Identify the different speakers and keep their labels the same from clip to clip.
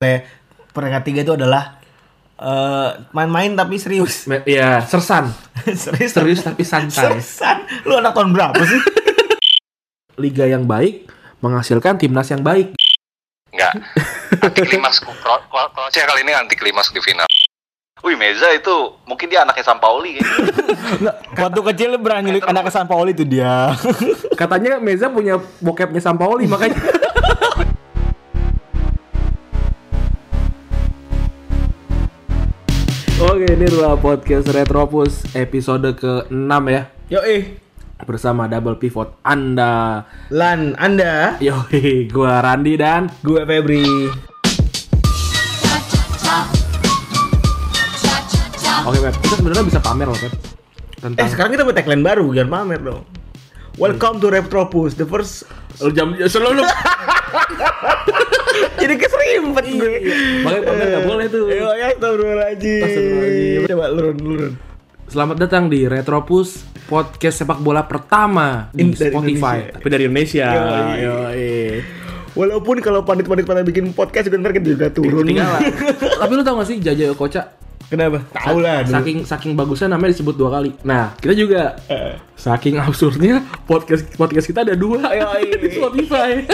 Speaker 1: oleh peringkat tiga itu adalah eh, main-main tapi serius.
Speaker 2: Me- Ya, sersan.
Speaker 1: serius.
Speaker 2: Serius tapi santai.
Speaker 1: Seriusan. Lu anak tahun berapa sih?
Speaker 2: Liga yang baik menghasilkan timnas yang baik.
Speaker 3: Enggak. Anti klimaks Kro- Kro- Kroasia kali ini anti klimaks di final. Wih, Meza itu mungkin dia anaknya ya. Sampaoli kayaknya.
Speaker 1: Waktu kecil berani lihat anak kesan Pauli itu dia.
Speaker 2: Katanya Meza punya bokepnya Sampaoli makanya. Oke, ini adalah podcast Retropus episode ke-6 ya
Speaker 1: Yo eh,
Speaker 2: bersama double pivot Anda.
Speaker 1: Lan Anda,
Speaker 2: Yoi, gua Randi dan
Speaker 1: gue Febri.
Speaker 2: Oke, Pep. Kita sebenarnya bisa pamer loh, Pep.
Speaker 1: Eh
Speaker 2: Tentang
Speaker 1: sekarang kita buat tagline baru jangan pamer dong. Welcome to Retropus, the first.
Speaker 2: Lu jam selalu
Speaker 1: Jadi keserimpet gue.
Speaker 2: Makanya pamer nggak boleh tuh.
Speaker 1: Yo ya,
Speaker 2: Astagfirullahaladzim.
Speaker 1: astagfirullahaladzim. Coba lurun, lurun.
Speaker 2: Selamat datang di Retropus podcast sepak bola pertama di
Speaker 1: In- dari
Speaker 2: Spotify.
Speaker 1: Indonesia.
Speaker 2: Tapi dari Indonesia.
Speaker 1: Yoi.
Speaker 2: Yoi.
Speaker 1: Walaupun kalau pandit-pandit pada bikin podcast juga ntar kita juga turun.
Speaker 2: Ketinggalan. Tapi lu tau gak sih Jaja Koca?
Speaker 1: Kenapa? Tahu lah. dulu.
Speaker 2: Saking saking bagusnya namanya disebut dua kali. Nah, kita juga
Speaker 1: Eh.
Speaker 2: saking absurdnya podcast podcast kita ada dua di Spotify.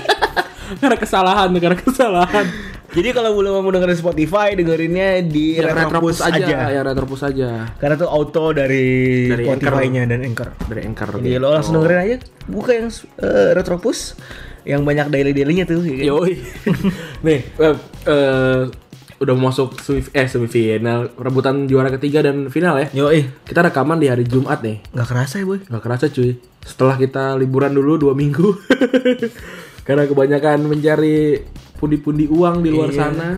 Speaker 2: karena kesalahan, karena kesalahan.
Speaker 1: Jadi kalau belum mau dengerin Spotify, dengerinnya di
Speaker 2: Ya,
Speaker 1: Retropus aja.
Speaker 2: ya Retropus aja.
Speaker 1: Karena tuh auto dari,
Speaker 2: Dari
Speaker 1: Spotify-nya dan Anchor. Oh.
Speaker 2: Dari Anchor.
Speaker 1: Jadi lo langsung dengerin aja, buka yang eh, Retropus yang banyak daily-dailynya tuh. ya kan?
Speaker 2: Yoi. Nih, Web, eh, udah mau masuk semif eh semifinal rebutan juara ketiga dan final ya.
Speaker 1: Yo, eh,
Speaker 2: Kita rekaman di hari Jumat nih.
Speaker 1: nggak kerasa ya boy.
Speaker 2: Gak kerasa cuy. Setelah kita liburan dulu dua minggu. Karena kebanyakan mencari pundi-pundi uang di luar
Speaker 1: Iya.
Speaker 2: sana.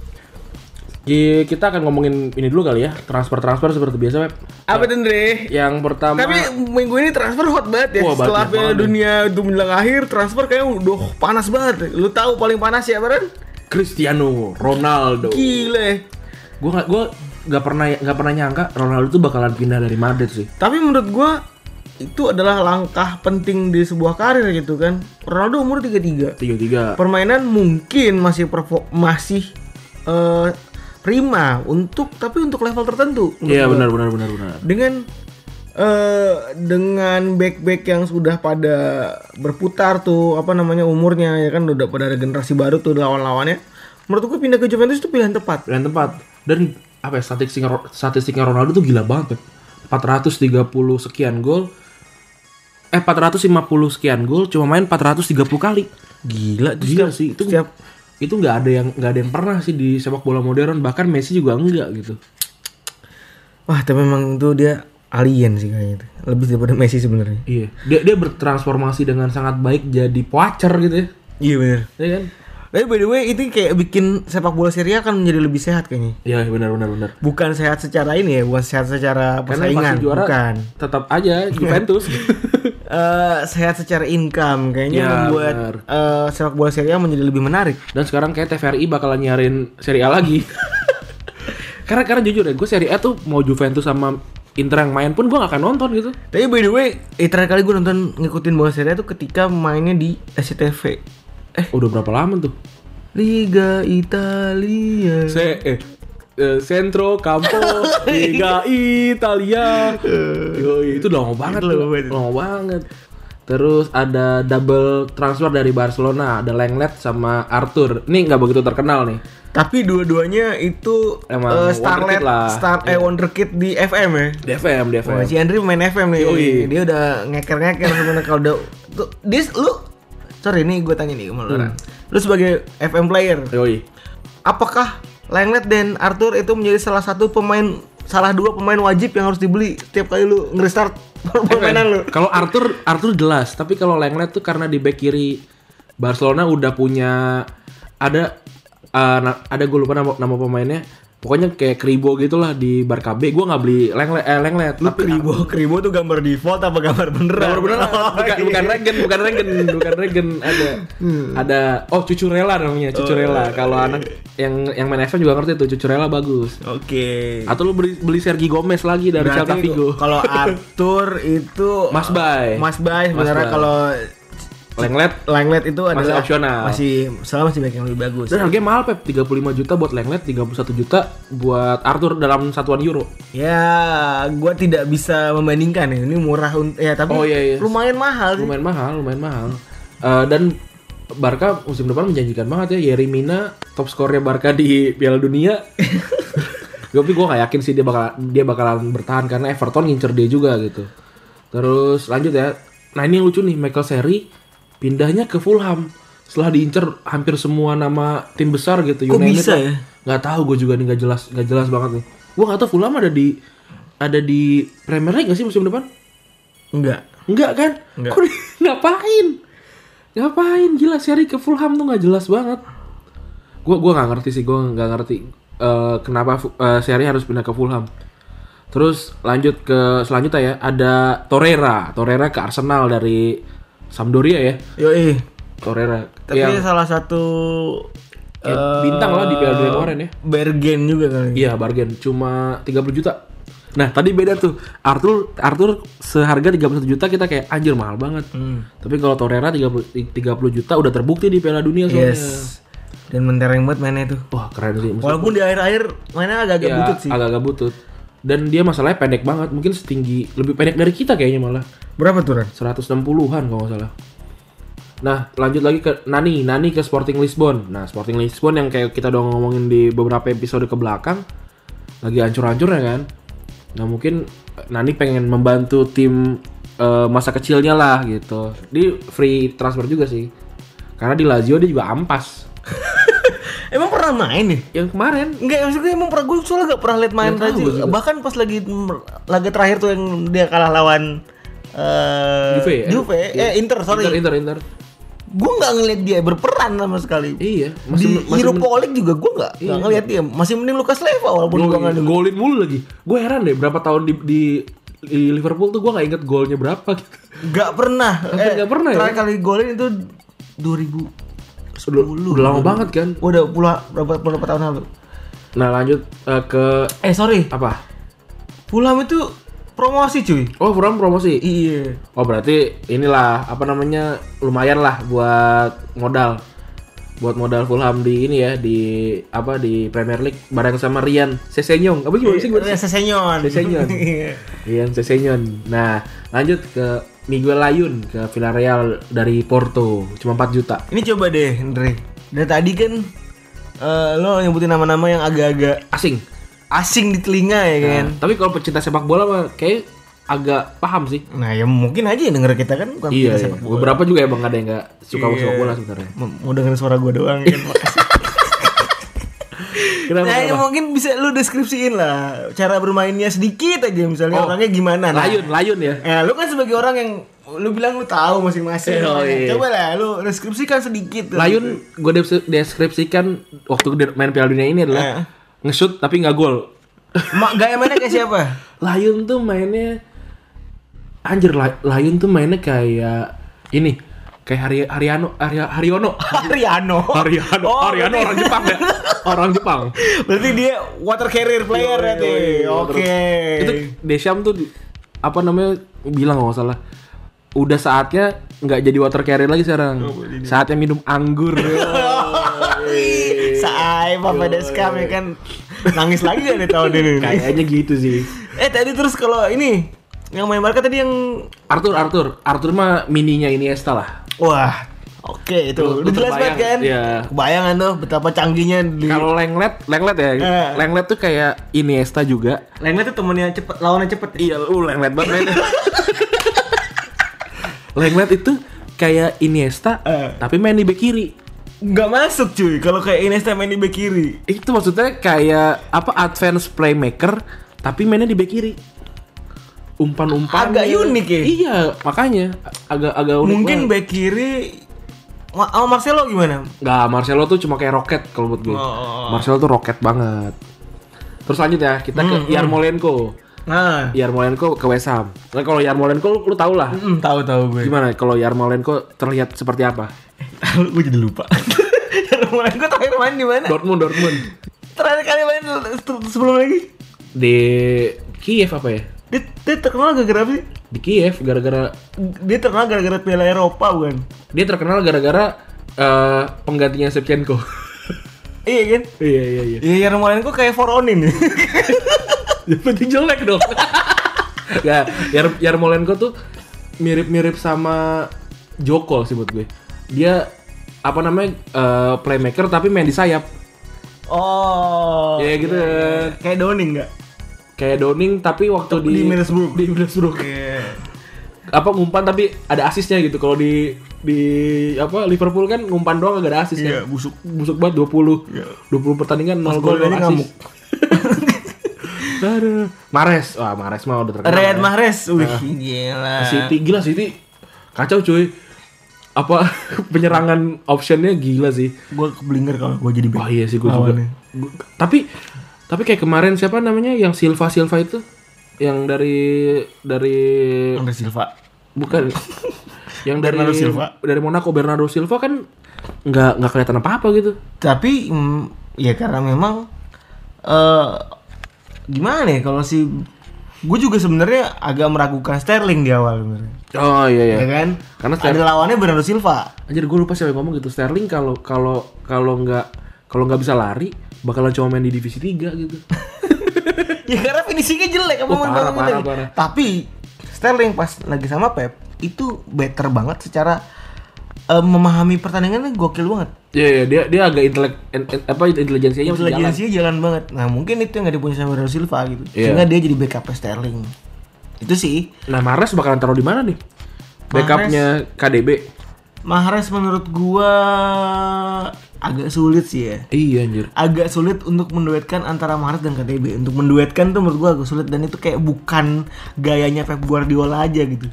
Speaker 2: Ki- Kita akan ngomongin ini dulu kali ya. Transfer-transfer seperti biasa, Web.
Speaker 1: Apa tuh Andre?
Speaker 2: Yang pertama
Speaker 1: Tapi minggu ini transfer hot banget ya.
Speaker 2: Wah,
Speaker 1: Setelah
Speaker 2: banyak
Speaker 1: Piala
Speaker 2: banget.
Speaker 1: Dunia itu menjelang akhir, transfer kayaknya udah panas banget. Lu tahu paling panas ya, Baren?
Speaker 2: Cristiano Ronaldo.
Speaker 1: Gile.
Speaker 2: Gue gak, gua nggak pernah nggak pernah nyangka Ronaldo tuh bakalan pindah dari Madrid sih.
Speaker 1: Tapi menurut gua itu adalah langkah penting di sebuah karir gitu kan. Ronaldo umur 33.
Speaker 2: Tiga tiga.
Speaker 1: Permainan mungkin masih perfo- masih eh, prima untuk tapi untuk level tertentu. menurut
Speaker 2: Iya
Speaker 1: gua.
Speaker 2: benar benar benar benar.
Speaker 1: Dengan eh dengan back-back yang sudah pada berputar tuh apa namanya umurnya ya kan udah pada ada generasi baru tuh lawan-lawannya. Menurut gua pindah ke Juventus itu pilihan tepat.
Speaker 2: Dan tempat dan apa ya, statistiknya Ro- statistiknya Ronaldo tuh gila banget. Pep. 430 sekian gol. Eh 450 sekian gol cuma main 430 kali. Gila gila sih itu.
Speaker 1: Setiap
Speaker 2: Itu nggak ada yang nggak ada yang pernah sih di sepak bola modern bahkan Messi juga enggak gitu.
Speaker 1: wah tapi memang itu dia alien sih kayaknya itu. Lebih daripada Messi sebenarnya.
Speaker 2: Iya. Dia dia bertransformasi dengan sangat baik jadi poacher gitu ya.
Speaker 1: Iya benar.
Speaker 2: Iya kan?
Speaker 1: Tapi by the way itu kayak bikin sepak bola Serie A akan menjadi lebih sehat kayaknya.
Speaker 2: Iya benar benar benar.
Speaker 1: Bukan sehat secara ini ya, bukan sehat secara
Speaker 2: Karena yang
Speaker 1: persaingan,
Speaker 2: pasti juara
Speaker 1: bukan.
Speaker 2: tetap aja Juventus.
Speaker 1: Eh, sehat secara income kayaknya
Speaker 2: Ya,
Speaker 1: membuat
Speaker 2: benar.
Speaker 1: eh, sepak bola Serie A menjadi lebih menarik.
Speaker 2: Dan sekarang kayak TVRI bakalan nyarin Serie A lagi. karena karena jujur ya, gue Serie A tuh mau Juventus sama Inter yang main pun gue gak akan nonton gitu.
Speaker 1: Tapi by the way, eh, terakhir kali gue nonton ngikutin bola Serie A tuh ketika mainnya di SCTV. Eh,
Speaker 2: Udah berapa lama tuh?
Speaker 1: Liga Italia.
Speaker 2: Se eh, eh, Centro Campo Liga Italia. Yoi, itu lama
Speaker 1: Eh.
Speaker 2: banget
Speaker 1: Itu lama
Speaker 2: loh.
Speaker 1: banget.
Speaker 2: Lama banget. Terus ada double transfer dari Barcelona, ada Lenglet sama Arthur. Ini nggak begitu terkenal nih.
Speaker 1: Tapi dua-duanya itu
Speaker 2: Emang
Speaker 1: eh,
Speaker 2: wonderkid
Speaker 1: starlet,
Speaker 2: lah. Iya.
Speaker 1: star eh wonderkid di FM ya.
Speaker 2: DFM,
Speaker 1: Wah,
Speaker 2: DFM.
Speaker 1: si Andri main FM nih.
Speaker 2: Yoi.
Speaker 1: Dia udah ngeker-ngeker sebenarnya kalau udah tuh dia lu sorry nih gue tanya nih sama lu. Ran. Lu sebagai FM player,
Speaker 2: Yoi.
Speaker 1: apakah Lenglet dan Arthur itu menjadi salah satu pemain salah dua pemain wajib yang harus dibeli setiap kali lu ngerestart permainan lu?
Speaker 2: Kalau Arthur Arthur jelas, tapi kalau Lenglet tuh karena di back kiri Barcelona udah punya ada eh, na- ada gue lupa nama, nama pemainnya. Pokoknya kayak Kribo gitulah di Barkabe. Gue nggak beli Lenglet eh Lenglet, tapi
Speaker 1: Kribo, Kribo tuh gambar default apa gambar beneran? Oh, iya.
Speaker 2: Bener bener bukan, bukan Regen, bukan Regen, bukan Regen ada ada oh cucu rela namanya, cucu
Speaker 1: iya,
Speaker 2: rela. Kalau anak yang yang main FM juga ngerti tuh cucu rela bagus.
Speaker 1: Oke.
Speaker 2: Atau lu beli beli Sergi Gomez lagi dari Celta
Speaker 1: Berarti
Speaker 2: Vigo.
Speaker 1: kalau Arthur itu
Speaker 2: Mas Bay.
Speaker 1: Mas Bay
Speaker 2: Mas
Speaker 1: sebenarnya
Speaker 2: Bay.
Speaker 1: kalau
Speaker 2: Lenglet
Speaker 1: Lenglet itu adalah
Speaker 2: opsional.
Speaker 1: Masih selama masih back yang lebih bagus.
Speaker 2: dan harganya mahal Pep 35 juta buat Lenglet 31 juta buat Arthur dalam satuan euro
Speaker 1: Ya, gua tidak bisa membandingkan ya. Ini murah untuk ya tapi
Speaker 2: Oh, iya, iya.
Speaker 1: lumayan mahal sih.
Speaker 2: lumayan mahal lumayan mahal Eh, dan Barca musim depan menjanjikan banget ya Yerry Mina top skornya Barca di Piala Dunia gue tapi gue gak yakin sih dia bakal dia bakalan bertahan karena Everton ngincer dia juga gitu terus lanjut ya nah ini yang lucu nih Michael Seri pindahnya ke Fulham setelah diincer hampir semua nama tim besar gitu
Speaker 1: Kok bisa
Speaker 2: lah.
Speaker 1: ya?
Speaker 2: nggak tahu gue juga nih nggak jelas nggak jelas banget nih gue nggak tahu Fulham ada di ada di Premier League gak sih musim depan
Speaker 1: Enggak.
Speaker 2: Enggak kan?
Speaker 1: Enggak.
Speaker 2: Kok dia- ngapain? Ngapain? Gila seri ke Fulham tuh nggak jelas banget. Gua gua nggak ngerti sih, gua nggak ngerti eh, kenapa Fu- eh, seri harus pindah ke Fulham. Terus lanjut ke selanjutnya ya, ada Torreira. Torreira ke Arsenal dari Sampdoria ya.
Speaker 1: Yoi.
Speaker 2: Torreira.
Speaker 1: Tapi
Speaker 2: Yang-
Speaker 1: salah satu
Speaker 2: Ya, Iya. bintang lah di Piala Dunia kemarin ya.
Speaker 1: Bergen juga kali.
Speaker 2: Iya, bargain cuma 30 juta. Nah, tadi beda tuh. Arthur Arthur seharga 31 juta kita kayak anjir mahal banget.
Speaker 1: Hmm.
Speaker 2: Tapi kalau Torreira 30 30 juta udah terbukti di Piala Dunia soalnya.
Speaker 1: Yes. Dan mentereng banget mainnya itu.
Speaker 2: Wah, keren sih. Maksud-
Speaker 1: Walaupun di akhir-akhir mainnya agak-agak
Speaker 2: ya,
Speaker 1: butut sih.
Speaker 2: Agak-agak butut. Dan dia masalahnya pendek banget, mungkin setinggi lebih pendek dari kita kayaknya malah.
Speaker 1: Berapa tuh, Ran?
Speaker 2: 160-an kalau nggak salah. Nah, lanjut lagi ke Nani, Nani ke Sporting Lisbon. Nah, Sporting Lisbon yang kayak kita udah ngomongin di beberapa episode ke belakang lagi hancur-hancur ya kan. Nah, mungkin eh, Nani pengen membantu tim eh, masa kecilnya lah gitu. Di free transfer juga sih. Karena di Lazio dia juga ampas.
Speaker 1: Emang pernah main nih?
Speaker 2: Yang kemarin
Speaker 1: Enggak, maksudnya emang pernah gue soalnya gak pernah liat main
Speaker 2: Nggak tahu
Speaker 1: Lazio.
Speaker 2: juga.
Speaker 1: Bahkan pas lagi laga terakhir tuh yang dia kalah lawan eh
Speaker 2: Juve ya?
Speaker 1: eh Inter, sorry.
Speaker 2: Inter Inter Inter.
Speaker 1: Gue nggak ngeliat dia berperan sama sekali.
Speaker 2: Iya,
Speaker 1: Di
Speaker 2: masih Iya. masih
Speaker 1: Europa League juga gue nggak nggak ngeliat dia. Masih mending Lukas Leva walaupun gue nggak
Speaker 2: golin, golin mulu lagi. Gue heran deh berapa tahun di di, di Liverpool tuh gue nggak inget golnya berapa gitu.
Speaker 1: nggak pernah. eh,
Speaker 2: Hampir nggak pernah ya?
Speaker 1: Terakhir kali golin itu 2000
Speaker 2: Udah, udah lama banget kan.
Speaker 1: udah pula berapa berapa tahun lalu.
Speaker 2: Nah lanjut eh, ke
Speaker 1: Eh sorry,
Speaker 2: apa?
Speaker 1: Fulham itu promosi cuy.
Speaker 2: Oh Fulham promosi.
Speaker 1: Iya.
Speaker 2: Oh berarti inilah apa namanya lumayan lah buat modal, buat modal Fulham di ini ya di apa di Premier League bareng sama Rian Sesenyong. Apa gimana sih? gua-
Speaker 1: Sesenyon.
Speaker 2: Sesenyon.
Speaker 1: Iya.
Speaker 2: Rian Sesenyon. Nah lanjut ke Miguel Layun ke Villarreal dari Porto cuma 4 juta.
Speaker 1: Ini coba deh, Andre. Dari tadi kan eh, lo nyebutin nama-nama yang agak-agak
Speaker 2: Asing.
Speaker 1: asing di telinga ya kan.
Speaker 2: Nah, tapi kalau pecinta sepak bola mah kayak agak paham sih.
Speaker 1: Nah, ya mungkin aja yang denger kita kan bukan pecinta
Speaker 2: Iya, iya.
Speaker 1: sepak bola.
Speaker 2: beberapa juga emang ada yang nggak suka
Speaker 1: Iya.
Speaker 2: sepak bola sebenarnya.
Speaker 1: M- Mau dengerin suara gue doang kan. makasih.
Speaker 2: Kenapa?
Speaker 1: nah, ya
Speaker 2: kenapa?
Speaker 1: mungkin bisa lu deskripsiin lah cara bermainnya sedikit aja misalnya
Speaker 2: Oh,
Speaker 1: orangnya gimana. Nah,
Speaker 2: Layun, layun ya.
Speaker 1: Ya, lu kan sebagai orang yang lu bilang lu tahu masing-masing. Nah, ya,
Speaker 2: Eh, oh, iya.
Speaker 1: Coba lah lu deskripsikan sedikit.
Speaker 2: Layun gue deskripsikan waktu dia main Piala Dunia ini
Speaker 1: Eh.
Speaker 2: adalah nge-shoot tapi nggak gol.
Speaker 1: Mak gaya mainnya kayak siapa?
Speaker 2: Layun tuh mainnya anjir Lay- Layun tuh mainnya kayak ini kayak Hari Hariano Hari- Haryono.
Speaker 1: Ariano.
Speaker 2: Hariano,
Speaker 1: Oh,
Speaker 2: Hariano
Speaker 1: berarti-
Speaker 2: orang Jepang ya. Orang Jepang.
Speaker 1: Berarti dia water carrier player berarti. Oke.
Speaker 2: Itu Desham tuh di- apa namanya bilang kalau nggak salah udah saatnya nggak jadi water carrier lagi sekarang.
Speaker 1: Oh,
Speaker 2: Saatnya minum anggur.
Speaker 1: Saai Papa Deskam ya kan nangis lagi ya di tahun ini.
Speaker 2: Kayaknya gitu sih.
Speaker 1: Eh tadi terus kalau ini yang main Barca tadi yang
Speaker 2: Arthur, Arthur, Arthur mah mininya Iniesta lah.
Speaker 1: wah Oke itu
Speaker 2: Lu-
Speaker 1: udah
Speaker 2: lu
Speaker 1: jelas
Speaker 2: terbayang,
Speaker 1: banget kan?
Speaker 2: iya.
Speaker 1: Kebayangan tuh betapa canggihnya di
Speaker 2: Kalau Lenglet, Lenglet ya,
Speaker 1: Eh.
Speaker 2: Lenglet tuh kayak Iniesta juga.
Speaker 1: Lenglet tuh temennya cepet, lawannya cepet
Speaker 2: Iya, lu Lenglet banget. mainnya. Lenglet itu kayak Iniesta,
Speaker 1: Eh.
Speaker 2: tapi main di bek kiri.
Speaker 1: Gak masuk cuy, kalau kayak Iniesta main di bek kiri
Speaker 2: Itu maksudnya kayak apa advance playmaker, tapi mainnya di bek kiri. Umpan-umpan.
Speaker 1: Agak unik ya?
Speaker 2: Iya, makanya agak-agak unik.
Speaker 1: Mungkin bek kiri Ma sama Marcelo gimana?
Speaker 2: Nggak, Marcelo tuh cuma kayak roket kalau buat gue.
Speaker 1: Oh.
Speaker 2: Marcelo tuh roket banget. Terus lanjut ya, kita
Speaker 1: Hmm,
Speaker 2: ke Yarmolenko.
Speaker 1: Nah,
Speaker 2: Yarmolenko ke West Ham. Nah, kalau Yarmolenko lu, lu tau lah.
Speaker 1: mm, tahu-tahu gue
Speaker 2: Gimana kalau Yarmolenko terlihat seperti apa?
Speaker 1: Lalu gue jadi lupa. Rumah gue terakhir main di mana?
Speaker 2: Dortmund, Dortmund.
Speaker 1: Terakhir kali main se- sebelum lagi
Speaker 2: Di Kiev apa ya?
Speaker 1: Dia, dia terkenal gara-gara apa sih?
Speaker 2: di Kiev gara-gara
Speaker 1: Dia terkenal gara-gara Piala Eropa bukan?
Speaker 2: dia terkenal gara-gara eh, penggantinya Shevchenko.
Speaker 1: Iya kan?
Speaker 2: iya iya iya.
Speaker 1: Iya, Yarmolenko kayak Voronin.
Speaker 2: Yang penting jelek dong. ya, Yar Yarmolenko tuh mirip-mirip sama Joko sih buat gue. Dia apa namanya eh, playmaker tapi main di sayap.
Speaker 1: oh.
Speaker 2: ya gitu.
Speaker 1: Kayak Downing nggak?
Speaker 2: Kayak Downing tapi waktu di
Speaker 1: Di Middlesbrough.
Speaker 2: di Middlesbrough.
Speaker 1: Iya.
Speaker 2: Apa ngumpan tapi ada asisnya gitu. Kalau di di apa Liverpool kan ngumpan doang gak ada asis
Speaker 1: Iya,
Speaker 2: kan.
Speaker 1: busuk.
Speaker 2: Busuk banget 20.
Speaker 1: Iya.
Speaker 2: 20 pertandingan 0
Speaker 1: Pas
Speaker 2: gol
Speaker 1: gol aja
Speaker 2: 0
Speaker 1: ngamuk.
Speaker 2: asis. Aduh. Mares. Wah, Mares mah udah terkenal.
Speaker 1: Riyad
Speaker 2: ya.
Speaker 1: Mahrez, wih gila.
Speaker 2: City gila City kacau cuy apa penyerangan optionnya gila sih
Speaker 1: Gue keblinger kalau gue jadi back.
Speaker 2: wah iya sih gue juga
Speaker 1: Lawannya.
Speaker 2: Gua- tapi tapi kayak kemarin siapa namanya yang Silva Silva itu yang dari dari
Speaker 1: Andre Silva.
Speaker 2: bukan yang dari
Speaker 1: Bernardo Silva.
Speaker 2: dari Monaco Bernardo Silva kan nggak nggak kelihatan apa apa gitu
Speaker 1: Tapi mm, ya karena memang eh gimana ya kalau si gue juga sebenarnya agak meragukan Sterling di awal sebenarnya.
Speaker 2: oh iya iya
Speaker 1: Ya kan?
Speaker 2: Karena
Speaker 1: ada
Speaker 2: Sterling-
Speaker 1: lawannya Bernardo Silva.
Speaker 2: anjir gue lupa siapa yang ngomong gitu Sterling kalau kalau kalau nggak kalau nggak bisa lari bakalan cuma main di divisi 3 gitu
Speaker 1: ya karena finishingnya jelek apa
Speaker 2: Oh,
Speaker 1: main
Speaker 2: parah,
Speaker 1: banget
Speaker 2: parah,
Speaker 1: tadi.
Speaker 2: parah.
Speaker 1: Tapi Sterling pas lagi sama Pep itu better banget secara eh, memahami pertandingannya gokil banget.
Speaker 2: Iya, iya, dia dia agak intelek en- en- apa intelijensianya masih Iya, jalan.
Speaker 1: Intelijensinya jalan banget. Nah mungkin itu yang gak dipunyai sama Bernardo Silva gitu.
Speaker 2: Iya.
Speaker 1: Sehingga dia jadi backup Sterling. Itu sih.
Speaker 2: Nah, Mares bakalan taruh di mana nih? Backupnya KDB.
Speaker 1: Mahrez menurut gua agak sulit sih ya.
Speaker 2: Iya anjir.
Speaker 1: Agak sulit untuk menduetkan antara Mahrez dan KDB. Untuk menduetkan tuh menurut gua agak sulit dan itu kayak bukan gayanya Pep Guardiola aja gitu.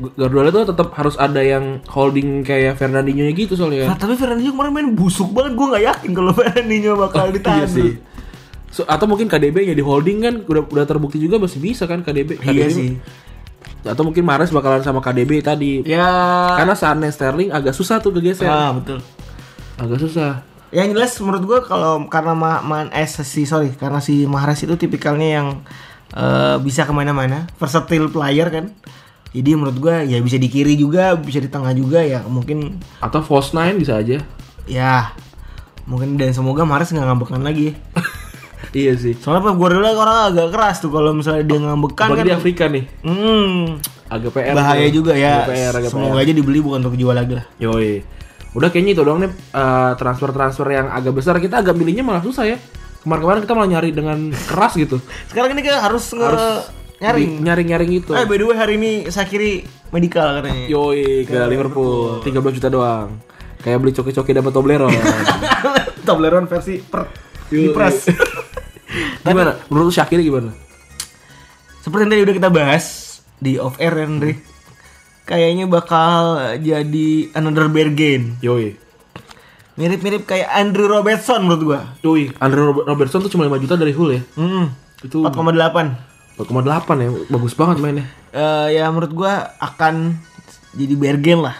Speaker 2: Guardiola tuh tetap harus ada yang holding kayak Fernandinho nya gitu soalnya.
Speaker 1: Nah, tapi Fernandinho kemarin main busuk banget. Gua nggak yakin kalau Fernandinho bakal ditahan.
Speaker 2: Iya sih. So, atau mungkin KDB-nya di holding kan udah udah terbukti juga masih bisa kan KDB.
Speaker 1: Iya
Speaker 2: KDB.
Speaker 1: sih.
Speaker 2: Atau mungkin Mares bakalan sama KDB tadi.
Speaker 1: Ya.
Speaker 2: Karena saatnya Sterling agak susah tuh kegeser.
Speaker 1: Ah, betul.
Speaker 2: Agak susah.
Speaker 1: Yang jelas menurut gua kalau karena ma man eh, si sorry karena si Mahrez itu tipikalnya yang eh, bisa kemana-mana, versatile player kan. Jadi menurut gua ya bisa di kiri juga, bisa di tengah juga ya mungkin
Speaker 2: Atau false nine bisa aja.
Speaker 1: ya mungkin dan semoga Mahrez nggak ngambekan lagi.
Speaker 2: iya sih.
Speaker 1: Soalnya Pep Guardiola orang agak keras tuh kalau misalnya dia ngambekan
Speaker 2: Bagi
Speaker 1: kan.
Speaker 2: di Afrika nih.
Speaker 1: Hmm,
Speaker 2: Agak PR.
Speaker 1: bahaya
Speaker 2: tuh.
Speaker 1: juga ya.
Speaker 2: Agak PR, agak PR.
Speaker 1: semoga aja dibeli bukan untuk dijual lagi lah.
Speaker 2: Yoi. Udah kayaknya itu doang nih eh, transfer-transfer yang agak besar. Kita agak milihnya malah susah ya. Kemarin-kemarin kita malah nyari dengan keras gitu.
Speaker 1: Sekarang ini kayak harus, nge nyaring.
Speaker 2: Di- Nyaring-nyaring itu.
Speaker 1: Eh by the way hari ini Sakiri medikal katanya.
Speaker 2: Yoi ke Liverpool. 13 juta doang. Kayak beli coki-coki dapat Toblerone.
Speaker 1: Toblerone versi per
Speaker 2: Yoi.
Speaker 1: dipres.
Speaker 2: gimana? Menurut lu Syakir gimana?
Speaker 1: Seperti yang tadi udah kita bahas di off air ya, Andre. Kayaknya bakal jadi another bargain.
Speaker 2: Yoi.
Speaker 1: Mirip-mirip kayak Andrew Robertson menurut gua.
Speaker 2: Yoi. Andre Rob- Robertson tuh cuma 5 juta dari Hull ya.
Speaker 1: Hmm.
Speaker 2: Itu
Speaker 1: 4,8.
Speaker 2: 4,8 ya. Bagus banget mainnya.
Speaker 1: Eh, ya menurut gua akan jadi bargain lah.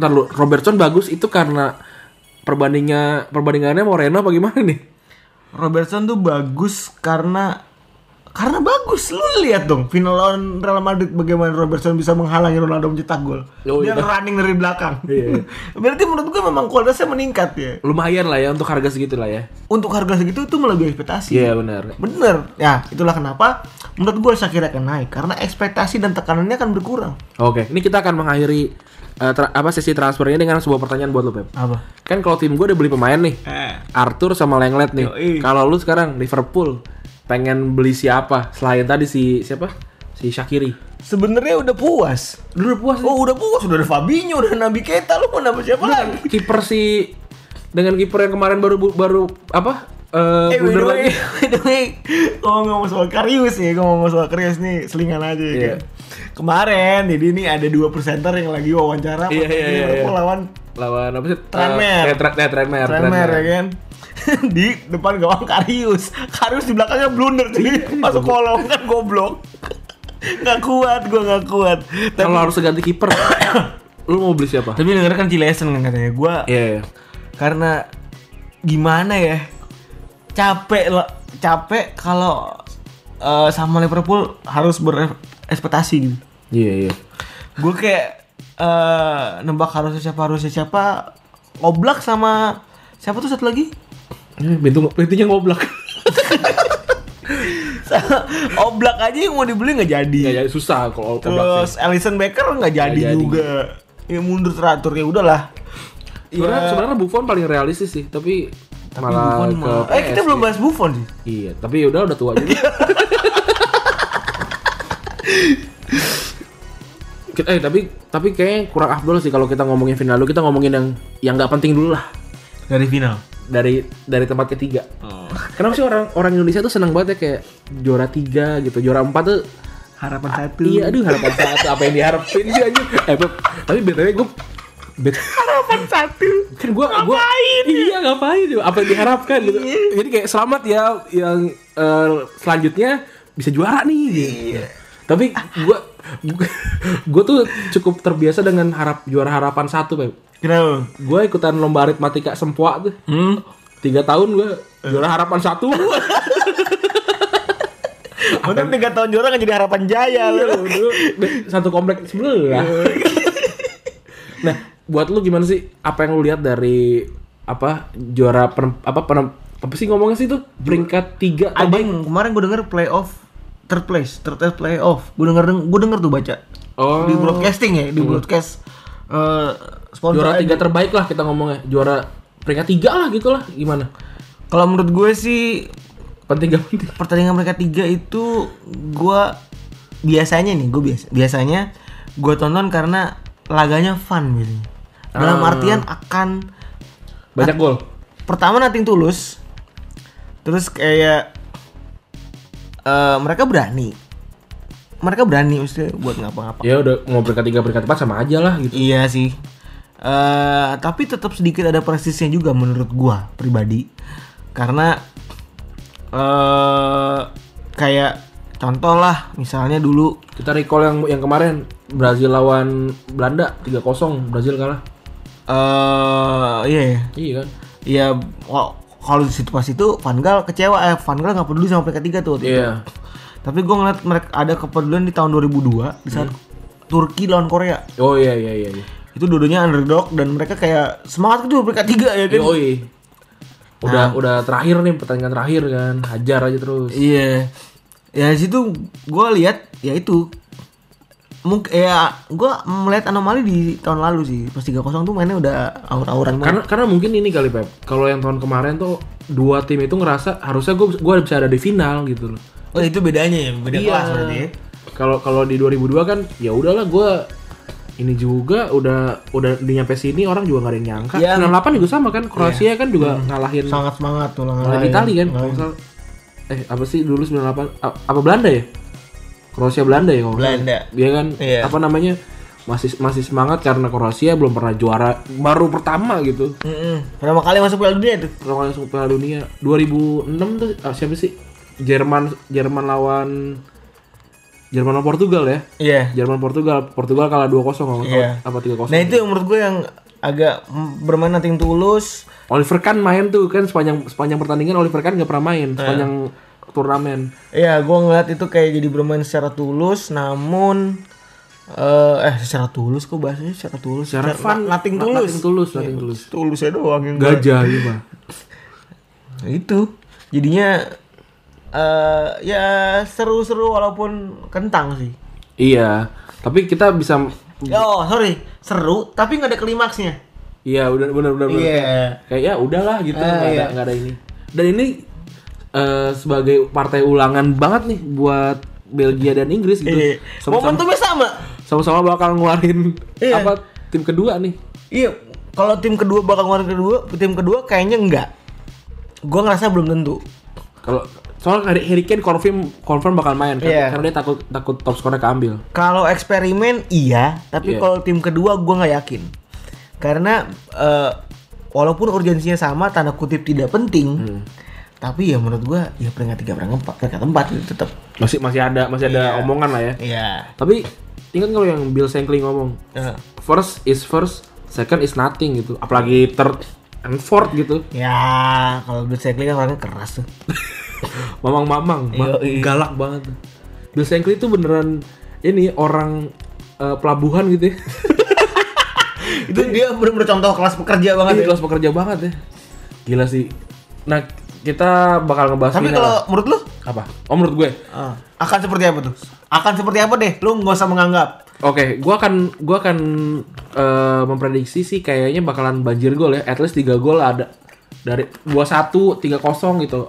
Speaker 2: Ntar lu, Robertson bagus itu karena perbandingnya perbandingannya Moreno apa gimana nih?
Speaker 1: Robertson tuh bagus karena karena bagus lu lihat dong final lawan Real Madrid bagaimana Robertson bisa menghalangi Ronaldo mencetak gol.
Speaker 2: Oh,
Speaker 1: Dia
Speaker 2: iya.
Speaker 1: running dari belakang.
Speaker 2: Iya.
Speaker 1: Berarti menurut gue memang kualitasnya meningkat ya.
Speaker 2: Lumayan lah ya untuk harga segitu lah ya.
Speaker 1: Untuk harga segitu itu melebihi ekspektasi.
Speaker 2: Iya benar.
Speaker 1: Bener. Ya, itulah kenapa menurut gue Shakira akan naik karena ekspektasi dan tekanannya akan berkurang.
Speaker 2: Oke, ini kita akan mengakhiri eh, tra- apa sesi transfernya dengan sebuah pertanyaan buat lo, Pep.
Speaker 1: Apa?
Speaker 2: Kan kalau tim gue udah beli pemain nih.
Speaker 1: Eh,
Speaker 2: Arthur sama Lenglet nih.
Speaker 1: Yoi.
Speaker 2: Kalau lu sekarang Liverpool pengen beli siapa? Selain tadi si siapa? Si Shakiri.
Speaker 1: Sebenarnya udah puas.
Speaker 2: Lu udah puas nih.
Speaker 1: Oh, udah puas, udah ada Fabinho, udah ada Nabi Keita, lu mau nambah siapa lagi?
Speaker 2: Kiper si dengan kiper yang kemarin baru bu- baru apa?
Speaker 1: Eh, by
Speaker 2: Eh,
Speaker 1: the
Speaker 2: blunder
Speaker 1: way,
Speaker 2: lagi.
Speaker 1: by the way, kalau ngomong soal Karius nih, kalau ngomong soal Karius nih, selingan aja ya
Speaker 2: Iya.
Speaker 1: kan. Kemarin, jadi ini ada dua presenter yang lagi wawancara
Speaker 2: Iya, iya, iya,
Speaker 1: Liverpool
Speaker 2: iya.
Speaker 1: lawan
Speaker 2: Lawan apa sih?
Speaker 1: Tranmere.
Speaker 2: Eh, tra- eh, Tranmere.
Speaker 1: Tranmere ya kan. di depan gawang Karius. Karius di belakangnya blunder jadi masuk kolong kan goblok. Gak kuat, gua gak kuat. Tapi,
Speaker 2: Kalau harus ganti kiper, lu mau beli siapa?
Speaker 1: tapi denger kan Cilesen kan katanya, gua
Speaker 2: Iya. iya.
Speaker 1: karena gimana ya capek lo capek kalau eh, sama Liverpool harus berekspektasi gitu.
Speaker 2: Iya iya.
Speaker 1: Gue kayak eh nebak harusnya siapa harusnya siapa. Oblak sama siapa tuh satu lagi?
Speaker 2: Eh, Pintu pintunya ngoblak.
Speaker 1: Oblak aja yang mau dibeli nggak jadi.
Speaker 2: Iya iya susah kalau ngoblak.
Speaker 1: Terus Alison Becker nggak jadi,
Speaker 2: jadi.
Speaker 1: juga. Ya mundur teratur ya udahlah. iya.
Speaker 2: Sebenarnya sebenarnya Buffon paling realistis sih, tapi, malah
Speaker 1: Buffon
Speaker 2: ke
Speaker 1: mah- eh kita
Speaker 2: PSG.
Speaker 1: belum bahas Buffon sih.
Speaker 2: Iya, tapi udah udah tua juga. Kita- eh tapi tapi kayaknya kurang afdol sih kalau kita ngomongin final dulu kita ngomongin yang yang nggak penting dulu lah
Speaker 1: Dari final.
Speaker 2: dari dari tempat ketiga. Kenapa sih orang orang Indonesia tuh seneng banget ya kayak juara tiga gitu, juara empat tuh
Speaker 1: Harapan satu.
Speaker 2: iya aduh harapan satu apa yang diharapin sih aja. Eh Pep, tapi btw gue
Speaker 1: Harapan satu.
Speaker 2: kan gua gua iya ngapain apa yang diharapkan gitu jadi kayak selamat ya yang eh, selanjutnya bisa juara nih gitu. tapi gua gua- gua tuh cukup terbiasa dengan harap juara harapan satu Beb.
Speaker 1: Kenapa?
Speaker 2: gua ikutan lomba aritmatika sempua tuh
Speaker 1: Hmm.
Speaker 2: tiga tahun gua juara harapan satu
Speaker 1: Untung tiga tahun juara kan jadi harapan jaya
Speaker 2: Iya.
Speaker 1: lu.
Speaker 2: Dulu, Beb, satu komplek sebelah nah buat lu gimana sih apa yang lu lihat dari apa juara per, apa per- apa sih ngomongnya sih tuh peringkat tiga
Speaker 1: Ada yang kemarin gue denger playoff third place, third place playoff. Gue denger gue denger tuh baca
Speaker 2: Oh,
Speaker 1: di broadcasting ya, di broadcast eh, sponsor.
Speaker 2: juara
Speaker 1: aja.
Speaker 2: tiga terbaik lah kita ngomongnya. Juara peringkat tiga lah gitu lah. Gimana?
Speaker 1: Kalau menurut gue sih
Speaker 2: Penting gak penting?
Speaker 1: pertandingan mereka tiga itu gue biasanya nih gue biasa biasanya gue tonton karena laganya fun gitu dalam artian akan
Speaker 2: Banyak gol.
Speaker 1: pertama nating tulus terus kayak eh, mereka berani mereka berani maksudnya buat ngapa-ngapa
Speaker 2: Ya udah mau peringkat tiga peringkat empat sama aja lah gitu.
Speaker 1: Iya sih. eh tapi tetap sedikit ada prestisnya juga menurut gua pribadi. Karena eh kayak contoh lah misalnya dulu
Speaker 2: Kita recall yang yang kemarin Brazil lawan Belanda 3-0 Brazil kalah.
Speaker 1: eh iya ya.
Speaker 2: Iya kan?
Speaker 1: Ya wa- kalau di situasi itu Van Gaal kecewa eh Van Gaal nggak peduli sama peringkat tiga tuh. waktu itu.
Speaker 2: Iya.
Speaker 1: Tapi gua ngeliat mereka ada kepedulian di tahun 2002 di saat Turki lawan Korea.
Speaker 2: Oh iya iya iya. iya.
Speaker 1: Itu dua-duanya underdog dan mereka kayak semangat gitu peringkat tiga ya kan.
Speaker 2: Yoi. Udah udah terakhir nih pertandingan terakhir kan. Hajar aja terus.
Speaker 1: Iya. Ya di situ gue lihat ya itu. Mungkin ya gue melihat anomali di tahun lalu sih. Pas 3-0 tuh mainnya udah aur-auran banget.
Speaker 2: Karena karena mungkin ini kali Pep. Kalau yang tahun kemarin tuh dua tim itu ngerasa harusnya gue gua bisa ada di final gitu loh.
Speaker 1: Oh itu bedanya ya, beda
Speaker 2: Iya.
Speaker 1: kelas berarti ya.
Speaker 2: Kalau kalau di 2002 kan ya udahlah gue ini juga udah udah di nyampe sini orang juga nggak ada yang nyangka.
Speaker 1: Iya.
Speaker 2: 98 juga sama kan Kroasia kan juga ngalahin
Speaker 1: Sangat semangat tuh lah.
Speaker 2: ngalahin Itali kan. Kalau nggak salah. eh apa sih dulu 98 a- apa Belanda ya? Kroasia Belanda ya kalau nggak salah.
Speaker 1: Belanda.
Speaker 2: Iya kan
Speaker 1: Iya.
Speaker 2: apa namanya? masih masih semangat karena Kroasia belum pernah juara baru pertama gitu.
Speaker 1: Mm-mm. Pertama kali masuk Piala Dunia tuh.
Speaker 2: Kalau nggak langsung Piala Dunia 2006 tuh ah, siapa sih? Jerman Jerman lawan Jerman lawan Portugal ya.
Speaker 1: Iya.
Speaker 2: Jerman Portugal Portugal kalah 2-0 kalau nggak
Speaker 1: Iya.
Speaker 2: salah apa 3-0
Speaker 1: Nah itu yang menurut gue yang agak bermain nating tulus.
Speaker 2: Oliver Kahn main tuh kan sepanjang sepanjang pertandingan Oliver Kahn nggak pernah main
Speaker 1: Iya.
Speaker 2: sepanjang turnamen
Speaker 1: Ya gue ngeliat itu kayak jadi bermain secara tulus, namun eh eh secara tulus kok bahasanya secara tulus
Speaker 2: Secara fun.
Speaker 1: nating
Speaker 2: Na-
Speaker 1: tulus Iya.
Speaker 2: nothing tulus, nothing tulus.
Speaker 1: tulusnya doang yang gua-
Speaker 2: gajah ya mah
Speaker 1: Nah, itu jadinya eh ya seru-seru walaupun kentang sih
Speaker 2: iya tapi kita bisa
Speaker 1: oh sorry seru tapi nggak ada klimaksnya
Speaker 2: iya udah benar benar benar.
Speaker 1: iya
Speaker 2: kayak ya udahlah gitu
Speaker 1: Ah,
Speaker 2: nggak ada
Speaker 1: iya.
Speaker 2: nggak ada ini dan ini eh, sebagai partai ulangan banget nih buat Belgia dan Inggris gitu
Speaker 1: Iya.
Speaker 2: sama-sama
Speaker 1: momentumnya sama
Speaker 2: sama-sama bakal ngeluarin
Speaker 1: Iya.
Speaker 2: apa tim kedua nih
Speaker 1: iya kalau tim kedua bakal ngeluarin kedua tim kedua kayaknya enggak gua ngerasa belum tentu
Speaker 2: kalau soalnya Harry Kane confirm confirm bakal main kan?
Speaker 1: Iya.
Speaker 2: karena dia takut takut top skornya keambil
Speaker 1: kalau eksperimen iya tapi
Speaker 2: Iya.
Speaker 1: kalau tim kedua gua nggak yakin karena eh, walaupun urgensinya sama tanda kutip tidak penting tapi ya menurut gua ya peringkat tiga peringkat empat peringkat empat gitu, itu tetap
Speaker 2: masih masih ada masih ada omongan lah ya
Speaker 1: Iya.
Speaker 2: tapi ingat kalau yang Bill Shankly ngomong first is first second is nothing gitu apalagi third and fourth gitu
Speaker 1: Ya, kalau Bill Shankly kan orangnya keras tuh.
Speaker 2: Mamang Mamang, ma-
Speaker 1: Yoi.
Speaker 2: galak banget. Bill Shankly itu beneran ini orang eh, pelabuhan gitu ya.
Speaker 1: itu dia bener-bener contoh kelas pekerja banget
Speaker 2: Ini
Speaker 1: ya.
Speaker 2: kelas pekerja banget ya. Gila sih. Nah, kita bakal ngebahas
Speaker 1: Tapi
Speaker 2: final.
Speaker 1: kalau menurut lu
Speaker 2: apa? Oh menurut gue.
Speaker 1: ah, akan seperti apa tuh? Akan seperti apa deh? Lu nggak usah menganggap.
Speaker 2: Oke, gua akan gua akan eh, memprediksi sih kayaknya bakalan banjir gol ya. At least 3 gol ada dari 2-1, 3-0 gitu.